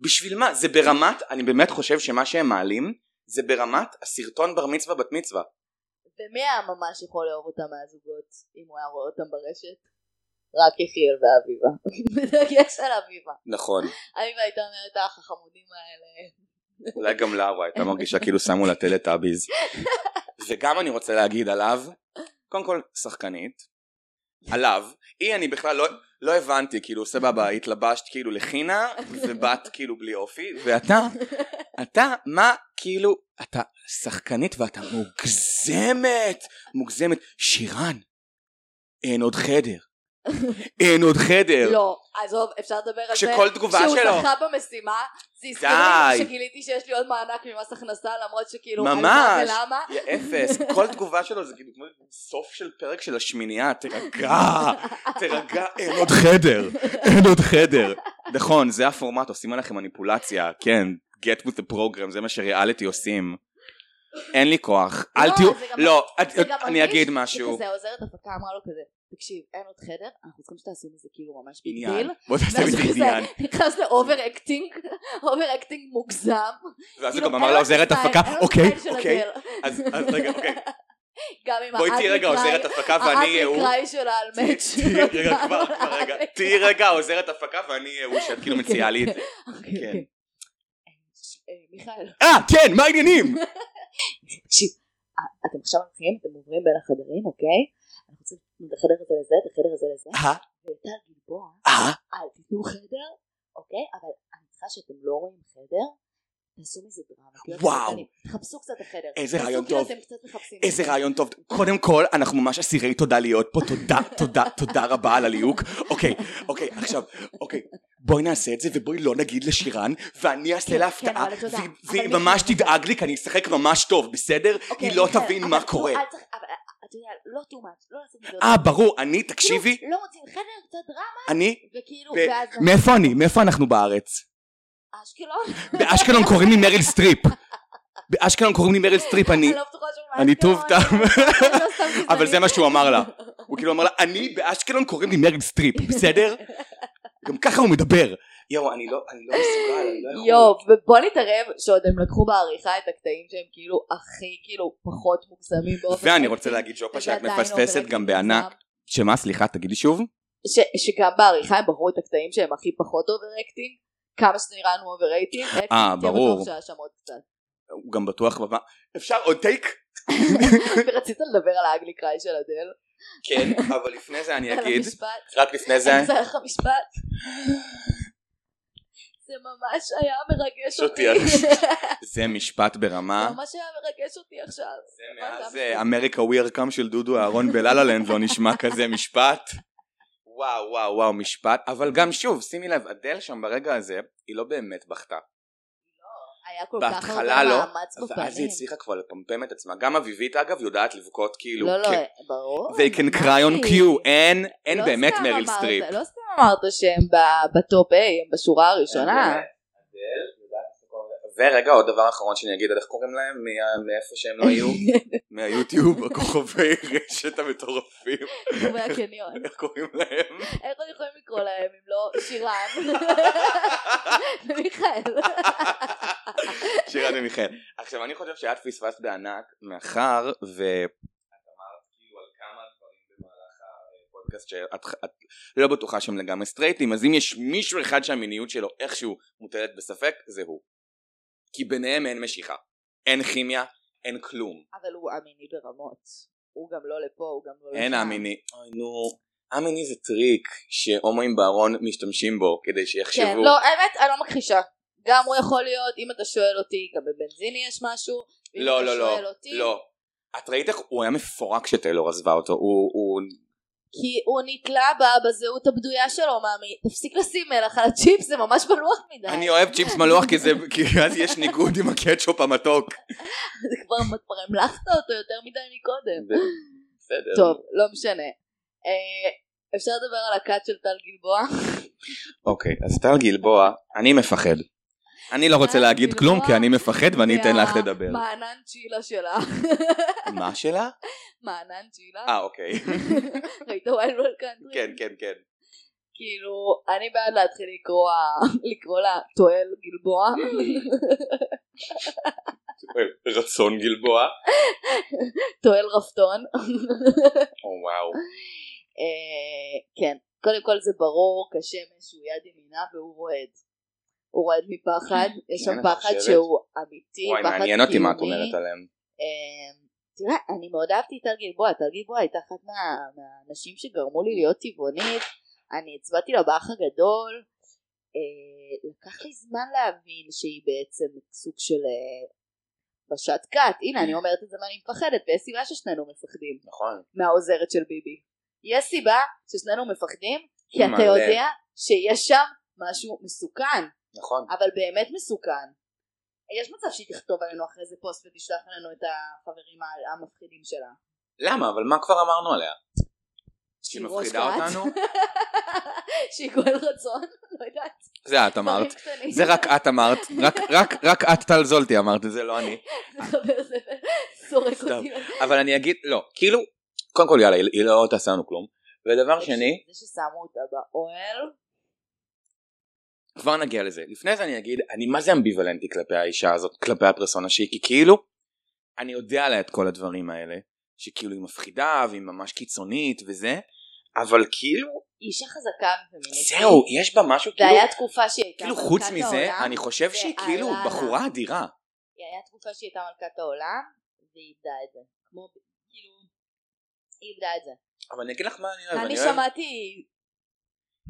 בשביל מה? זה ברמת, אני באמת חושב שמה שהם מעלים, זה ברמת הסרטון בר מצווה בת מצווה. ומי היה ממש יכול לאהוב אותם מהזוגות, אם הוא היה רואה אותם ברשת? רק יחיאל ואביבה. [laughs] בדגש על אביבה. נכון. אביבה הייתה אומרת, האח החמודים האלה. אולי גם לה, וואי, [laughs] הייתה מרגישה כאילו שמו לה טלטאביז. וגם אני רוצה להגיד עליו, קודם כל, שחקנית. עליו, היא אני בכלל לא, לא הבנתי, כאילו סבבה, התלבשת כאילו לחינה, ובאת כאילו בלי אופי, ואתה, אתה, מה, כאילו, אתה שחקנית ואתה מוגזמת, מוגזמת. שירן, אין עוד חדר. אין עוד חדר. לא, עזוב, אפשר לדבר על זה. כן. כשכל תגובה שלו. כשהוא זכה במשימה, זה הזכיר לי די. שגיליתי שיש לי עוד מענק ממס הכנסה, למרות שכאילו... ממש. על מה ולמה. יא אפס, כל תגובה שלו זה כאילו כמו סוף של פרק של השמינייה, תירגע, תירגע, אין עוד חדר, אין עוד חדר. נכון, זה הפורמט, עושים עליכם מניפולציה, כן, get with the program, זה מה שריאליטי עושים. אין לי כוח, אל לא, תהיו, זה גם- לא, את- זה גם אני מרגיש אגיד משהו. שכזה עוזרת הפקה אמרה לו כזה, תקשיב, אין עוד חדר, אנחנו צריכים שתעשו מזה כאילו ממש ביג עניין, דיל. בוא תעשה ואז מזה הוא כזה עניין. נכנס לאובר [laughs] אקטינג, אובר אקטינג מוגזם. ואז הוא כאילו, אין גם אמר לו לעוזרת סטייל, הפקה, אין לו כאילו. אוקיי, סטייל של אוקיי, הדל. אז אז רגע, [laughs] אוקיי, גם עם בואי תהיי האדלי רגע קריי- עוזרת הפקה ואני האדלי אהיה הוא. קריי שלה על מאץ'. תהיי רגע, כבר, כבר, [laughs] רגע, תהיי רגע עוזרת הפקה ואני אהיה הוא שאת כאילו מציעה לי את זה. [laughs] אוקיי, כן. אוקיי. אה, מיכאל, אה, כן, מה העניינים? תקשיב, אה, אתם עכשיו הולכים, אתם עוברים בין החדרים, אוקיי? אנחנו צריכים את החדר הזה לזה, את החדר הזה לזה, אה, וטל גלבוע, אה, אל תיתנו חדר, אוקיי? אבל אני צריכה שאתם לא רואים חדר, תעשו מזה דרמה. כאילו, אתם וואו. קטנים. תחפשו קצת החדר. איזה תעשו רעיון כאילו טוב. אתם קצת מחפשים. איזה רעיון טוב. קודם כל, אנחנו ממש אסירי תודה להיות פה, תודה, תודה, תודה רבה על הליהוק. אוקיי, אוקיי, עכשיו, אוקיי, בואי נעשה את זה ובואי לא נגיד לשירן, ואני אעשה כן, לה כן, הפתעה, אבל תודה. והיא- אבל והיא מיכאל, ממש תודה. תדאג לי, כי אני אשחק ממש טוב, בסדר? אוקיי, היא לא מיכאל, תבין אבל מה כאילו, קורה. אל צריך- אבל, אה, אתה יודע, לא too much, לא לעשות מזה אה, ברור, אני, תקשיבי, כאילו, לא מוצאים חדר, קצת דרמה, אני... וכאילו, ב- ואז כאילו, מאיפה אני? מאיפה אנחנו בארץ? אשקלון, באשקלון קוראים לי מריל סטריפ. באשקלון קוראים לי מריל סטריפ, [laughs] אני... אני לא בטוחה שהוא מאשקלון. אני טוב טעם. אני לא סתם גזענית. [laughs] אבל זה מה שהוא אמר לה. הוא כאילו אמר לה, אני באשקלון קוראים לי מריל סטריפ, בסדר? גם ככה הוא מדבר. יואו, אני לא, אני לא מסוגל, אני לא יואו, ובוא נתערב שעוד הם לקחו בעריכה את הקטעים שהם כאילו הכי כאילו פחות מוגזמים באופן... לא ואני אמיתי, רוצה להגיד שופה וזה שאת עדיין מפספסת אופן גם אמיתי בענק. מוגזם. שמה, סליחה, תגידי שוב? כן, ש- שגם בעריכה הם בחרו את הקטעים שהם הכי פחות אוברקטינג, כמה שזה נראה לנו אובררייטינג. אה, ברור. שהאשמות קצת. [laughs] הוא גם בטוח במה. אפשר עוד טייק? ורצית לדבר על האגלי קריי של אדל? [laughs] כן, אבל לפני זה אני על אגיד, המשפט? רק [laughs] לפני זה, אני צריך לך משפט? זה ממש היה מרגש אותי אותי. [laughs] זה משפט זה ברמה. ממש היה מרגש אותי עכשיו. זה מה מאז אה, זה המשפט? אמריקה וויר קאם של דודו אהרון בלה-לה-לנד לא נשמע כזה משפט. וואו וואו וואו משפט, אבל גם שוב, שימי לב, אדל שם ברגע הזה, היא לא באמת בכתה. היה כל כך בהתחלה הרבה לא, מאמץ ואז בפנים. היא הצליחה כבר לפמפם את עצמה. גם אביבית אגב יודעת לבכות כאילו, לא, לא, כן. ברור. they can cry on אמרתי. cue, אין, אין לא באמת סתם מריל אמרת- סטריפ. לא סתם אמרת שהם ב- בטופ A, הם בשורה אה, הראשונה. ורגע, עוד דבר אחרון שאני אגיד, על איך קוראים להם? מה- מאיפה שהם לא [laughs] יהיו? מהיוטיוב, הכוכבי רשת המטורפים, חברי הקניון. איך קוראים להם? איך עוד יכולים לקרוא להם אם לא [laughs] שירן? מיכאל. שירן ומיכאל. עכשיו, אני חושב שאת פספסת בענק, מאחר ו... את אמרת כאילו על כמה דברים במהלך הפודקאסט שאת את לא בטוחה שהם לגמרי סטרייטים, אז אם יש מישהו אחד שהמיניות שלו איכשהו מוטלת בספק, זה הוא. כי ביניהם אין משיכה. אין כימיה, אין כלום. אבל הוא אמיני ברמות. הוא גם לא לפה, הוא גם לא לשם. אין אמיני. אוי נו. אמיני זה טריק שהומואים בארון משתמשים בו כדי שיחשבו. כן, לא, האמת, אני לא מכחישה. גם הוא יכול להיות, אם אתה שואל אותי, גם בבנזיני יש משהו. ואם לא, אתה לא, לא, שואל אותי, לא. את ראית איך הוא היה מפורק כשטיילור עזבה אותו, הוא, הוא... כי הוא נתלה בה בזהות הבדויה שלו, מאמי. תפסיק לשים מלח על הצ'יפס, זה ממש בלוח מדי. אני אוהב צ'יפס מלוח כי זה, כי אז יש ניגוד עם הקטשופ המתוק. כן. זה כבר, כבר המלכת אותו יותר מדי מקודם. בסדר. טוב, לא משנה. אה, אפשר לדבר על הכת של טל גלבוע? אוקיי, אז טל גלבוע, אני מפחד. אני לא רוצה טל להגיד גלבוע כלום כי אני מפחד ואני אתן לך וה- לדבר. מענן צ'ילה שלה. מה שלה? [laughs] מענן צ'ילה. אה, [laughs] אוקיי. [laughs] ראית ווילד ווילד קאנטרי? כן, כן, כן. כאילו, אני בעד להתחיל לקרוא, [laughs] לקרוא לה תואל [laughs] גלבוע. רצון גלבוע. תואל רפתון. או וואו. אה, כן, קודם כל זה ברור כשמש שהוא יד ימינה והוא רועד. הוא רועד מפחד, יש שם כן, את פחד חושבת? שהוא אמיתי, וואי, פחד מעניין אותי מה את קיומי. אומרת עליהם. אמ, תראה, אני מאוד אהבתי את טל גלבוע, טל גלבוע הייתה אחת מה- מהאנשים שגרמו לי להיות טבעונית, אני הצבעתי לה באח הגדול, אה, לקח לי זמן להבין שהיא בעצם סוג של אה, ראשת כת, הנה אני אומרת את זה ואני מפחדת, ויש סיבה ששנינו מפחדים נכון. מהעוזרת של ביבי. יש סיבה ששנינו מפחדים, כי אתה מלא. יודע שיש שם משהו מסוכן. נכון. אבל באמת מסוכן. יש מצב שהיא תכתוב עלינו אחרי זה פוסט ותשלח עלינו את החברים המפחידים שלה. למה? אבל מה כבר אמרנו עליה? שהיא שהיא ראש מפחידה כת. אותנו? [laughs] שהיא גואל רצון, לא יודעת. זה את [laughs] אמרת. דברים קטנים. זה רק את אמרת, רק, רק, רק את טל זולטי אמרת את זה, לא אני. חבר זה זורק סתם. אותי. אבל אני אגיד, לא, כאילו, קודם כל יאללה, היא היא לא תעשה לנו כלום. ודבר אוקיי. שני, זה ששמו אותה באוהל. כבר נגיע לזה. לפני זה אני אגיד, אני מה זה אמביוולנטי כלפי האישה הזאת, כלפי הפרסונה שהיא, כי כאילו, אני יודע עליה את כל הדברים האלה, שכאילו היא מפחידה והיא ממש קיצונית וזה, אבל כאילו, היא אישה חזקה ופמיניסטית. זהו, יש בה משהו אוקיי. זה כאילו, היה תקופה שהיא הייתה כאילו חוץ מלכת מזה, העולם. אני חושב זה שהיא כאילו עלה לה. בחורה אדירה. היא היה תקופה שהיא הייתה מלכת העולם, והיא איבדה את זה. כמו, כאילו, היא איבדה את זה. אבל אני אגיד לך מה אני אוהב, אני אני אוהב שמעתי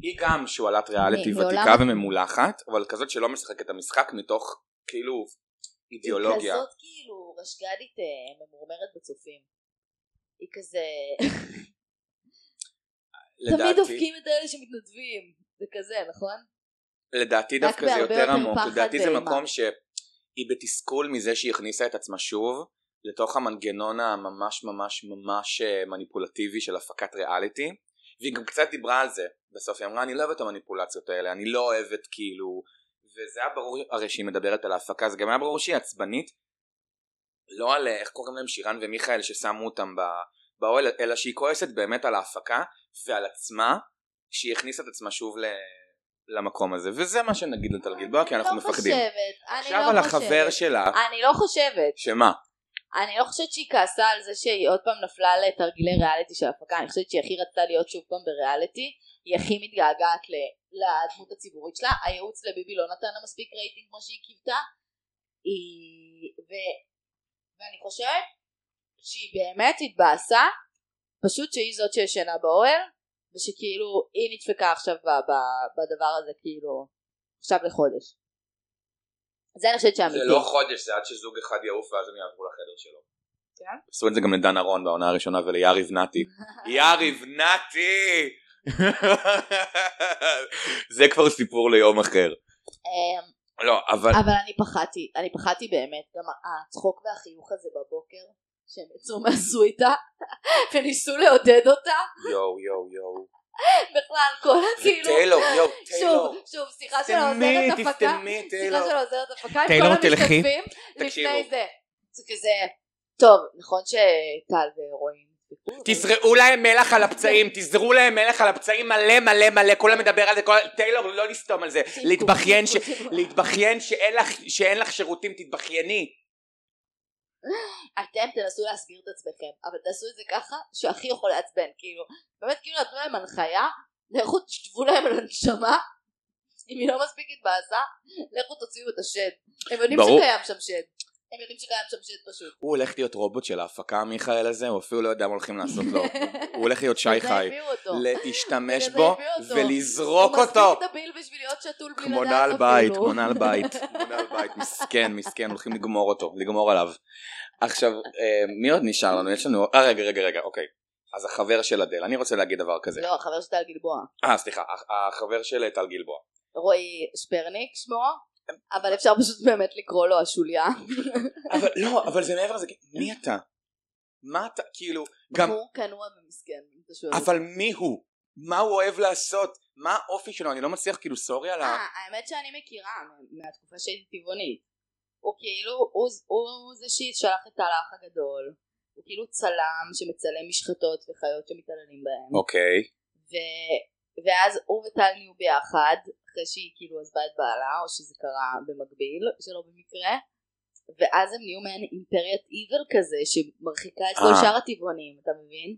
היא גם שועלת ריאליטי אני מעולם- ותיקה וממולחת, אבל כזאת שלא משחקת את המשחק מתוך כאילו אידיאולוגיה. היא כזאת כאילו רשג"לית אה, ממורמרת בצופים. היא כזה... [laughs] תמיד לדעתי, דופקים את אלה שמתנדבים. זה כזה, נכון? לדעתי רק דווקא זה בהרבה יותר יותר עמוק, פחד אה, לדעתי זה ואימה. מקום שהיא בתסכול מזה שהיא הכניסה את עצמה שוב לתוך המנגנון הממש ממש ממש אה, מניפולטיבי של הפקת ריאליטי, והיא גם קצת דיברה על זה בסוף, היא אמרה אני לא אוהבת את המניפולציות האלה, אני לא אוהבת כאילו, וזה היה ברור הרי שהיא מדברת על ההפקה, זה גם היה ברור שהיא עצבנית, לא על אה, איך קוראים להם שירן ומיכאל ששמו אותם ב- באוהל, אלא שהיא כועסת באמת על ההפקה ועל עצמה, שהיא הכניסה את עצמה שוב ל... למקום הזה, וזה מה שנגיד לטל גלבוע, כי אנחנו מפחדים. אני לא חושבת, אני עכשיו לא על חושבת. החבר שלה, אני לא חושבת. שמה? אני לא חושבת שהיא כעסה על זה שהיא עוד פעם נפלה לתרגילי ריאליטי של הפקה. אני חושבת שהיא הכי רצתה להיות שוב פעם בריאליטי. היא הכי מתגעגעת ל- לדמות הציבורית שלה. הייעוץ לביבי לא נתן לה מספיק רייטינג כמו שהיא קיוותה. היא... ו... ואני חושבת שהיא באמת התבאסה, פשוט שהיא זאת שישנה באוהל, ושכאילו היא נדפקה עכשיו ב- ב- בדבר הזה כאילו עכשיו לחודש. זה אני חושבת זה שאמיתי. לא חודש, זה עד שזוג אחד יעוף ואז הם יעברו לחדר שלו. כן? עשו את זה גם לדן ארון בעונה הראשונה וליריב [laughs] נתי. יריב [laughs] נתי! זה כבר סיפור ליום אחר. אמ, לא, אבל... אבל אני פחדתי, אני פחדתי באמת, גם הצחוק והחיוך הזה בבוקר, שהם יצאו מהסוויטה, [laughs] וניסו לעודד אותה, יואו, יואו, יואו. בכלל כל הכאילו, טיילו, יואו, כאילו, שוב, טיילו. שוב, שיחה של העוזרת תסתמי, הפקה, תסתמי, שיחה טיילו. של העוזרת הפקה עם טיילו, כל תלכי. המשתתפים, תקשיבו. לפני זה, זה כזה, טוב, נכון שטל ורואים, תזרעו להם מלח על הפצעים, תזרעו להם מלח על הפצעים מלא מלא מלא, כולם מדבר על זה, כל... טיילור לא לסתום על זה, להתבכיין, ש... להתבכיין שאין לך, שאין לך שירותים, תתבכייני. אתם תנסו להסביר את עצמכם, אבל תעשו את זה ככה שהכי יכול לעצבן, כאילו, באמת כאילו נתנו להם הנחיה, לכו תשבו להם על הנשמה, אם היא לא מספיק התבאסה, לכו תוציאו את השד. הם יודעים ברור. שקיים שם שד, הם יודעים שקיים שם שד פשוט. הוא הולך להיות רובוט של ההפקה, המיכאל הזה, הוא אפילו לא יודע מה הולכים לעשות [laughs] לו. הוא הולך להיות שי זה חי. הביאו אותו. להשתמש בגלל זה בו הביאו אותו. ולזרוק הוא אותו. מספיק דביל בשביל להיות שתול בלי כאילו לדעת לא. כמו אפילו. נעל בית, כמו נעל [laughs] בית, כמו נעל בית, מסכן, מסכן, הולכים לגמור אותו, לגמור עליו. עכשיו, אה, מי עוד נשאר לנו? יש לנו... אה, רגע, רגע, רגע, אוקיי. אז החבר של אדל, אני רוצה להגיד דבר [laughs] כזה. לא, החבר של טל גלבוע. אה, סליחה, הח- החבר של טל גלבוע. רועי שפרניק שמו, אבל אפשר פשוט באמת לקרוא לו השוליה. אבל לא, אבל זה מעבר לזה, מי אתה? מה אתה, כאילו, גם, הוא כנוע ומסכן. אם אתה שואל אותי. אבל מי הוא? מה הוא אוהב לעשות? מה האופי שלו? אני לא מצליח, כאילו, סורי על ה... אה, האמת שאני מכירה מה- מהתקופה שהייתי טבעונית. הוא כאילו, הוא, ז- הוא זה ששלח את האח הגדול. הוא כאילו צלם שמצלם משחטות וחיות שמתעללים בהם. אוקיי. ו, ואז הוא וטל נהיו ביחד, אחרי שהיא כאילו עזבה את בעלה, או שזה קרה במקביל, שלא במקרה. ואז הם נהיו מעין אימפריית איבל כזה, שמרחיקה את כל אה. שאר הטבעונים, אתה מבין?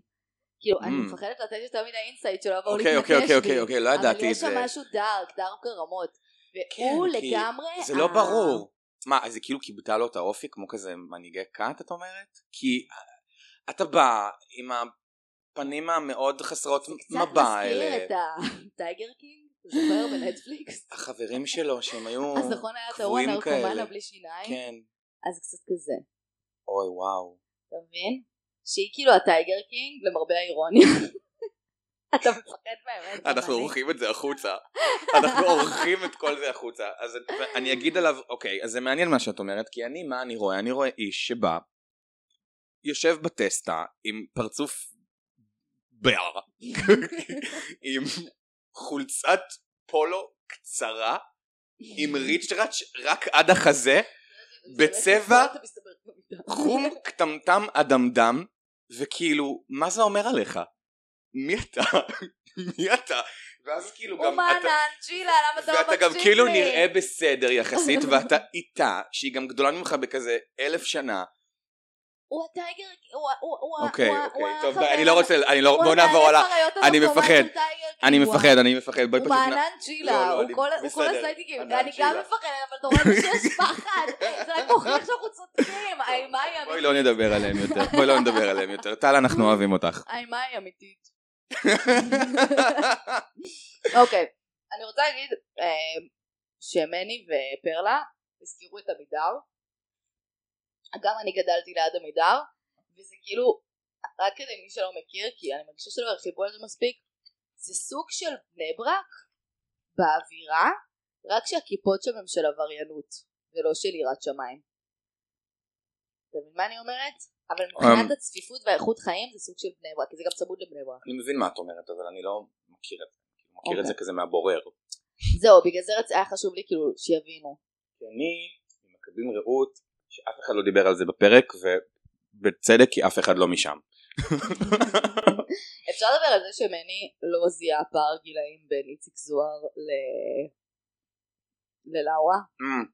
כאילו, אני Mm. מפחדת לתת יותר מדי אינסייט שלא יבואו אוקיי, להתנגש אוקיי, אוקיי, לי. אוקיי, אוקיי, לא אבל ידעתי את יש זה. שם משהו דארק, דארק ברמות. והוא כן, כי לגמרי... זה לא ה- ברור. מה, אז היא כאילו כיבדה לו את האופי כמו כזה מנהיגי כת, את אומרת? כי אה, אתה בא עם הפנים המאוד חסרות מבע קצת האלה. מזכיר את [laughs] הטייגר קינג, אתה זוכר בנטפליקס? החברים שלו שהם היו... אז נכון היה את ההוא קבועים הנרקומן כאלה. הבלי שיניים? כן. אז קצת כזה, אוי וואו. אתה מבין? שהיא כאילו הטייגר קינג, למרבה האירוניה. [laughs] אתה מפחד מהאמת. גם אנחנו אני. [laughs] עורכים את זה החוצה. אנחנו עורכים את כל זה החוצה. אז אני אגיד עליו, אוקיי, אז זה מעניין מה שאת אומרת, כי אני, מה אני רואה? אני רואה איש שבא, יושב בטסטה עם פרצוף בר, [laughs] עם חולצת פולו קצרה, עם ריצ'ראץ' רק עד החזה, בצבע- אתה מסתבר כמו מיטה. [laughs] חום קטמטם אדמדם, וכאילו, מה זה אומר עליך? מי אתה? [laughs] מי אתה? ואז כאילו גם אומן, אתה... צ'ילה, למה אתה לא מקשיב ואתה לי? גם כאילו נראה בסדר יחסית, ואתה איתה, שהיא גם גדולה ממך בכזה אלף שנה. הוא הטייגר, הוא ה- הוא- הוא ה- אוקיי, הוא ה- הוא אוקיי, טוב, החבר די, אני לא רוצה, אני לא, הוא בוא נעבור המנהל הלאה. החריות אני הדוקטורט מפחד. של טייגר אני קינג, הוא מפחד, אני מפחד, בואי הוא אה, פשוט נע- מענן לא, צ'ילה, לא, הוא אני- כל- הוא כל בסדר, הסיידיקים, ענן ואני גם צ'ילה. מפחדת, אבל אתה רואה [laughs] שיש פחד, זה רק מוכיח שאנחנו צודקים, האימה היא בואי אמיתית, לא נדבר עליהם יותר, בואי לא נדבר עליהם יותר. טל, [laughs] אנחנו אוהבים אותך. האימה לא- היא אמיתית. אוקיי, אני רוצה להגיד אה, שמני ופרלה הזכירו את עמידר, גם אני גדלתי ליד עמידר, וזה כאילו, רק כדי מי שלא מכיר, כי אני מרגישה שלא הרחיבו על זה מספיק, זה סוג של בני ברק באווירה, רק שהכיפות שם הן של עבריינות, ולא של יראת שמיים. אתה מבין מה אני אומרת? אבל מבחינת הצפיפות והאיכות חיים זה סוג של בני ברק, כי זה גם צמוד לבני ברק. אני מבין מה את אומרת, אבל אני לא מכיר את זה. אני מכיר את זה אוקיי. כזה מהבורר. זהו, בגלל זה רצ- היה חשוב לי כאילו שיבינו. כי אני, ממכבים רעות, שאף אחד לא דיבר על זה בפרק, ובצדק, כי אף אחד לא משם. אפשר לדבר על זה שמני לא זיהה פער גילאים בין איציק זוהר ל... ללאורה? Mm.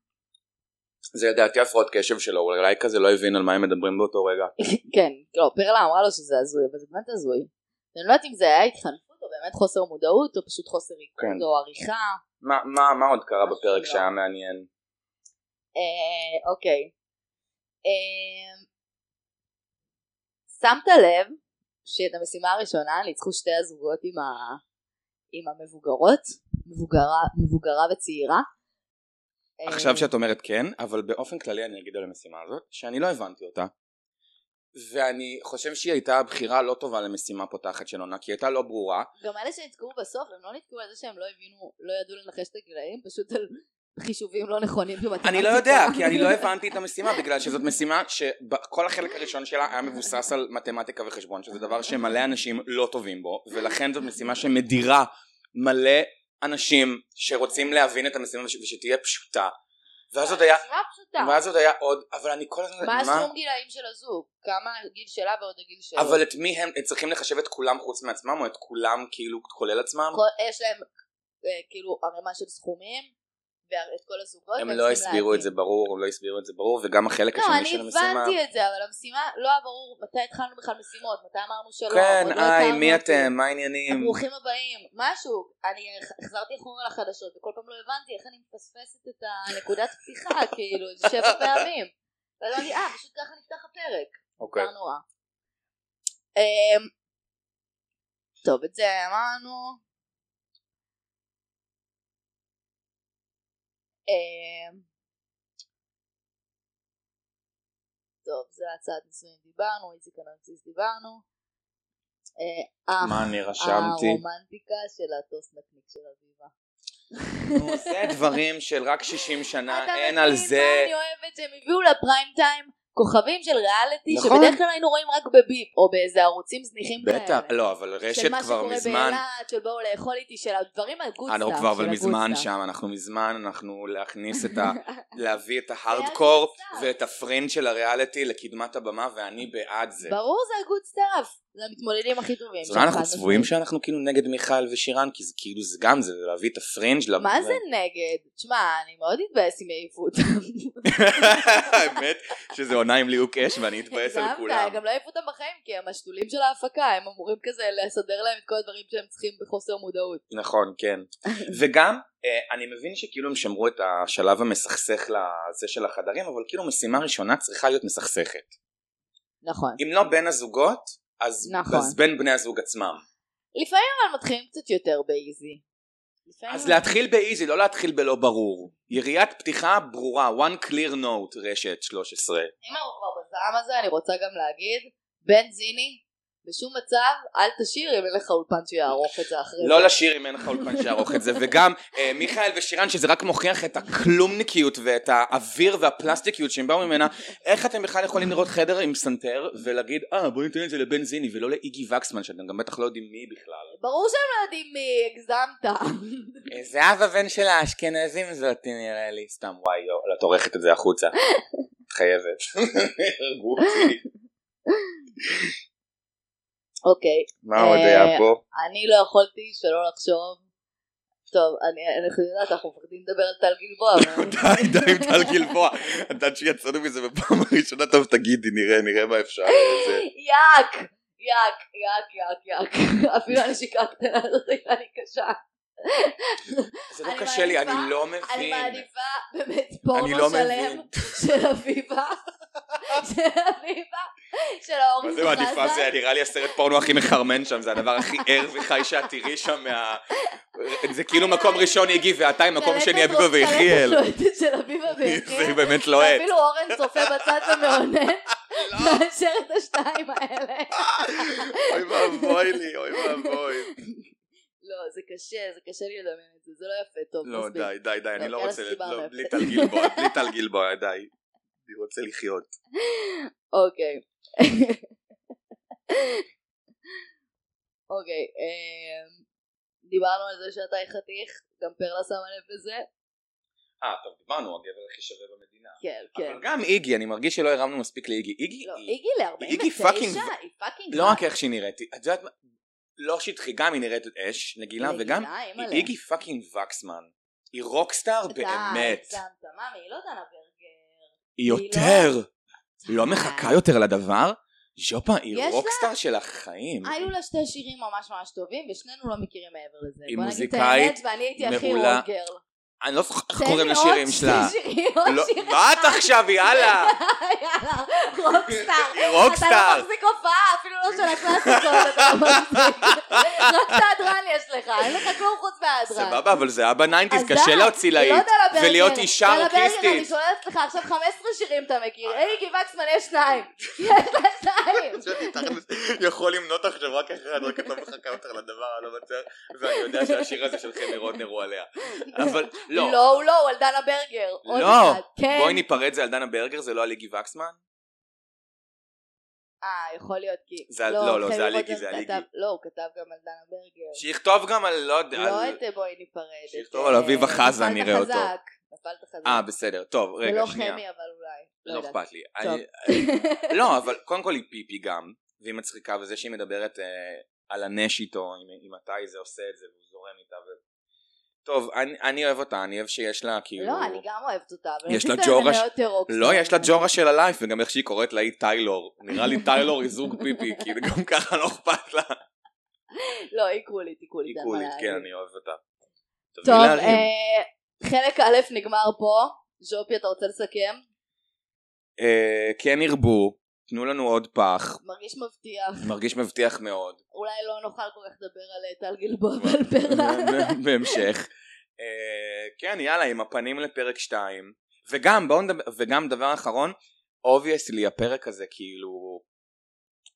זה לדעתי הפרעות קשב שלו, הוא אולי כזה לא הבין על מה הם מדברים באותו רגע. כן, לא, פרלה אמרה לו שזה הזוי, אבל זה באמת הזוי. אני לא יודעת אם זה היה התחנפות או באמת חוסר מודעות או פשוט חוסר ריכוז כן. או עריכה. מה, מה, מה עוד קרה משהו בפרק לא. שהיה מעניין? אה, אוקיי. אה, שמת לב שאת המשימה הראשונה ניצחו שתי הזוגות עם, ה... עם המבוגרות, מבוגרה, מבוגרה וצעירה. אה, עכשיו שאת אומרת כן, אבל באופן כללי אני אגיד על המשימה הזאת, שאני לא הבנתי אותה. ואני חושב שהיא הייתה בחירה לא טובה למשימה פותחת של עונה, כי היא הייתה לא ברורה. גם אלה שנתקעו בסוף הם לא נתקעו על זה שהם לא הבינו, לא ידעו לנחש את הגילאים, פשוט על חישובים לא נכונים במתמטיקה. אני לא יודע, כי [laughs] אני לא הבנתי את המשימה, בגלל שזאת משימה שכל החלק הראשון שלה היה מבוסס על מתמטיקה וחשבון, שזה דבר שמלא אנשים לא טובים בו, ולכן זאת משימה שמדירה מלא אנשים שרוצים להבין את המשימה וש- ושתהיה פשוטה. ואז עוד היה, מה פשוטה? ואז עוד היה עוד, אבל אני כל הזמן, מה הסיום גילאים של הזוג? כמה הגיל שלה ועוד הגיל שלו? אבל את מי הם, הם צריכים לחשב את כולם חוץ מעצמם, או את כולם כאילו כולל עצמם? כל- יש להם אה, כאילו ערימה של סכומים, ואת כל הזוגות. הם והם לא צריכים הסבירו להבין. את זה ברור, הם לא הסבירו את זה ברור, וגם החלק לא, השני אני של המשימה. הבנתי את זה, אבל המשימה, לא היה ברור מתי התחלנו בכלל משימות, מתי אמרנו שלא, כן, עוד לא היי, הכרנו מי אותו. אתם? מה העניינים? ברוכים הבאים, משהו, אני החזרתי אחורה לחדשות וכל פעם לא הבנתי איך אני מפספסת את הנקודת פתיחה, [laughs] כאילו, זה שבע פעמים. ואז אמרתי, אה, פשוט ככה נפתח הפרק, אוקיי. כבר נורא. אמ, טוב, את זה אמרנו. אמ, טוב, זה הצעת נישואים דיברנו, איציק הנרציס דיברנו. אה, אח, מה אני רשמתי? הרומנטיקה של הטוס נקניק של אביבה. נו, זה דברים של רק 60 אתה שנה, אין מבין על מה זה. אני אוהבת שהם הביאו לפריים טיים כוכבים של ריאליטי נכון. שבדרך כלל היינו רואים רק בביפ או באיזה ערוצים זניחים בטח, כאלה. לא, אבל רשת כבר של מזמן. מה שקורה אה, באילת, של באו לאכול איתי, של הדברים הגוד אנחנו סטאפ, כבר של אבל ה-good מזמן stuff. שם, אנחנו מזמן, אנחנו להכניס את [laughs] ה... להביא את ההארדקור זה ואת הפרינד של הריאליטי לקדמת הבמה, ואני בעד זה. ברור זה הגוד סטאפ, זה המתמודדים הכי טובים. אז אולי אנחנו שם, חד צבועים משמעית. שאנחנו כאילו נגד מיכל ושירן, כי זה כאילו זה גם זה, להביא את הפרינג' לב- מה זה נגד? תשמע, אני מאוד אתבאס אם יעיפו אותם. [laughs] האמת שזה עונה עם ליהוק אש ואני אתבאס על גם כולם. די, גם לא יעיפו אותם בחיים כי הם השתולים של ההפקה, הם אמורים כזה לסדר להם את כל הדברים שהם צריכים בחוסר מודעות. נכון, כן. וגם, אה, אני מבין שכאילו הם שמרו את השלב המסכסך לזה של החדרים, אבל כאילו משימה ראשונה צריכה להיות מסכסכת. נכון. אם לא בין הזוגות, אז, נכון. אז בין בני הזוג עצמם. לפעמים אבל מתחילים קצת יותר באיזי. לפעמים אז אבל- להתחיל באיזי, לא להתחיל בלא ברור. יריית פתיחה ברורה, one clear note, רשת 13. אם אנחנו כבר בזעם הזה, אני רוצה גם להגיד, בן זיני, בשום מצב, אל תשאיר אם אין לך אולפן שיערוך את זה אחרי זה. לא לשיר אם אין לך אולפן שיערוך את זה, וגם אה, מיכאל ושירן שזה רק מוכיח את הכלומניקיות ואת האוויר והפלסטיקיות שהם באו ממנה, איך אתם בכלל יכולים לראות חדר עם סנטר ולהגיד אה בוא ניתן את זה לבן זיני ולא לאיגי וקסמן שאתם גם בטח לא יודעים מי בכלל. ברור שהם לא יודעים מי, הגזמת. [laughs] אה, זהב הבן של האשכנזים זאת נראה לי סתם וואי לא, את עורכת את זה [laughs] החוצה. את חייבת. [laughs] הרגו אותי. אוקיי, מה עוד היה פה? אני לא יכולתי שלא לחשוב. טוב, אני אנחנו יודעת, אנחנו מפחדים לדבר על טל גלבוע. אבל- [laughs] די, די עם טל גלבוע. את יודעת שיצאנו מזה בפעם הראשונה, טוב תגידי, נראה, נראה מה אה, אפשר. זה- יאק! יאק, יאק, יאק, יאק. [laughs] אפילו הנשיקה הקטנה הזאת הייתה לי קשה. זה לא אני קשה לי, מעדיפה- אני לא אני מבין. מעדיפה באמת אני פורנו לא שלם מבין. של אביבה, של אביבה, של האור מה זה מעדיפה? זה נראה לי הסרט פורנו הכי מחרמן שם, זה הדבר הכי ער וחי שאת תראי שם מה... זה כאילו מקום ראשון יגיב ואתה עם מקום שני אביגו ויחיאל. של אביבה [laughs] זה ויחיאל, באמת לא לוהט. אפילו אורן צופה בצד [laughs] ומאונן, לא. מאשר את השתיים האלה. אוי ואבוי לי, אוי ואבוי. לא, זה קשה, זה קשה לי לדמיין את זה, זה לא יפה, טוב, לא, מספיק. די, די, די, אני לא, לא יאללה, רוצה... סיבה לא, מאפס. בלי טל גלבוע, בלי טל גלבוע, די. אני רוצה לחיות. אוקיי. [laughs] אוקיי, אמ, דיברנו על זה שאתה חתיך, גם פרלה שמה לב לזה. אה, טוב, דיברנו, הגבר הכי שווה במדינה. כן, כן. אבל גם איגי, אני מרגיש שלא הרמנו מספיק לאיגי. איגי, לא, היא- איגי ל-49, איגי פאקינג- היא פאקינג... לא רק איך שהיא נראית, את יודעת מה? לא שטחי, גם היא נראית אש, נגילה, וגם היא לא? איגי פאקינג וקסמן. היא רוקסטאר באמת. מאמי, היא לא דנה ברגר. היא היא יותר. לא- לא מחכה יותר לדבר? ז'ופה, היא יש לה- רוקסטאר של החיים. היו לה שתי שירים ממש ממש טובים, ושנינו לא מכירים מעבר לזה. היא בוא נגיד את מוזיקאית האמת, ואני הייתי הכי מעולה. רוקר. אני לא זוכר איך תן קוראים לי לשירים עוד שלה. שתי שירים, עוד לא- שיר מה את [laughs] אחד. עכשיו, [laughs] יאללה? יאללה, [laughs] רוקסטאר. היא אתה רוקסטאר. לא מחזיק הופעה, אפילו לא של הקלאסיקות, אתה לא [laughs] מחזיק. רק את ההדרן יש לך, אין לך כלום חוץ מההדרן. סבבה, אבל זה היה בניינטיז, אז די, קשה להוציא היא לא להיט. דלה ברגר. ולהיות אישה דלה ברגר, אורקיסטית. אני שוללת לך עכשיו 15 שירים אתה אה. מכיר, איגי וקסמן יש שניים, יש לה שניים. שאני תכלס יכול למנות עכשיו רק אחד, רק אתה מחכה יותר לדבר, אני לא מצליח, ואני יודע שהשיר הזה של חמי רודנר הוא עליה. אבל [laughs] לא. לא, הוא לא, הוא על דנה ברגר. עוד לא. אחד. כן. בואי ניפרד זה על דנה ברגר, זה לא על איגי וקסמן? אה, יכול להיות כי... זה על- לא, לא, זה חיים על איגי, רודן זה על כתב- איגי. לא, הוא כתב גם על דנה ברגר. שיכתוב גם על לא יודע. לא על- את בואי ניפרד. שיכתוב את, על אה, אביבה חזן, נפלת נראה אותו. חזק, נפלת חזק. אה בסדר, טוב זה רגע לא שנייה. חמי אבל אולי. לא יודעת. אכפת לי. טוב. [laughs] אני- לא, אבל קודם כל היא פיפי גם, והיא מצחיקה, וזה שהיא מדברת אה, על הנש איתו, עם, עם מתי זה עושה את זה, והוא זורם איתה. ו... טוב, אני, אני אוהב אותה, אני אוהב שיש לה כאילו... לא, אני גם אוהבת אותה, אבל יש לה עשית ממנה ג'ורה ש- יותר רוקסטאר. לא, יש לה ג'ורה של הלייף, וגם איך שהיא קוראת לה היא טיילור. נראה לי טיילור היא זוג פיפי, [laughs] כאילו גם ככה לא אכפת לה. לא, היא קולית, היא קולית. היא אין מה קולית, להגיד. כן, אני אוהב אותה. טוב, טוב, מי להרים? אה, חלק א' נגמר פה. ז'ופי, אתה רוצה לסכם? אה, כן ירבו, תנו לנו עוד פח, מרגיש מבטיח. מרגיש מבטיח מאוד. אולי לא נוכל כל כך לדבר על אה, טל גלבוע [laughs] ועל פרלה. בהמשך. אה, כן, יאללה, עם הפנים לפרק 2. וגם, בואו נדבר, וגם דבר אחרון, אובייסלי הפרק הזה כאילו,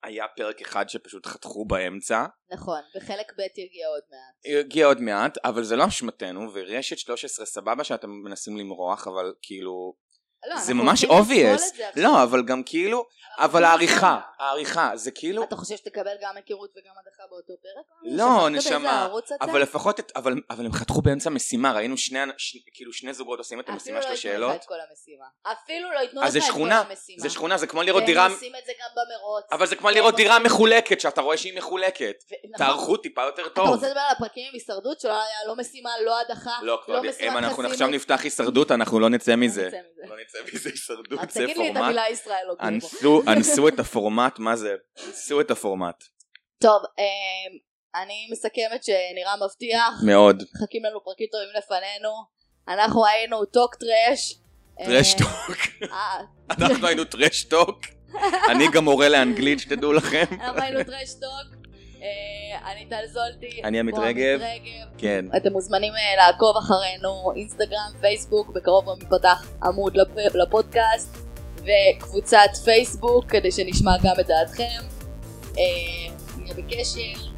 היה פרק אחד שפשוט חתכו באמצע, נכון, וחלק ב' יגיע עוד מעט. הגיע עוד מעט, אבל זה לא אשמתנו, ורשת 13 סבבה שאתם מנסים למרוח, אבל כאילו, לא, זה אנחנו ממש הולכים לסבול obvious. את זה עכשיו. לא, אבל גם כאילו, אבל העריכה, העריכה, זה כאילו, אתה חושב שתקבל גם היכרות וגם הדחה באותו פרק? לא, שכחת נשמה, באיזה ערוץ אתה? אבל לפחות, את- אבל אבל הם חתכו באמצע משימה, ראינו שני, אנ- ש- כאילו שני זוגות עושים את המשימה אפילו של לא ייתנו לך השאלות. את כל המשימה. אפילו לא ייתנו לך אז זה את כל שכונה, המשימה. זה שכונה, זה כמו לראות דירה, והם עושים את זה גם במרוץ. אבל זה כמו לראות דירה מחולקת, שאתה רואה שהיא מחולקת. ו- נכון. תערכו טיפה יותר אתה טוב. רוצה לדבר על הפרקים עם הישרדות שלא היה לא משימה, לא הדחה, לא, לא קלודי, משימת אם אנחנו חסינות? עכשיו נפתח הישרדות, אנחנו לא נצא מזה. נצא מזה. לא נצא מזה הישרדות, אז זה תגיד לי את פורמט. המילה ישראל לא גרבו. אנסו, אנסו את הפורמט, מה זה? אנסו את הפורמט. טוב, אמ, אני מסכמת שנראה מבטיח, מאוד. מחכים לנו פרקים טובים לפנינו, אנחנו היינו טוק טרש. אה, טרשטוק. אה, [laughs] אנחנו היינו טרשטוק. אני גם מורה לאנגלית, שתדעו לכם. אנחנו היינו טרש טוק. אה, אני טל זולטי. אני עמית בועז רגב. כן. אתם מוזמנים אה, לעקוב אחרינו, אינסטגרם, פייסבוק, בקרוב גם יפתח עמוד לפ- לפודקאסט, וקבוצת פייסבוק, כדי שנשמע גם את דעתכם. אה, נהיה אמ, בקשר,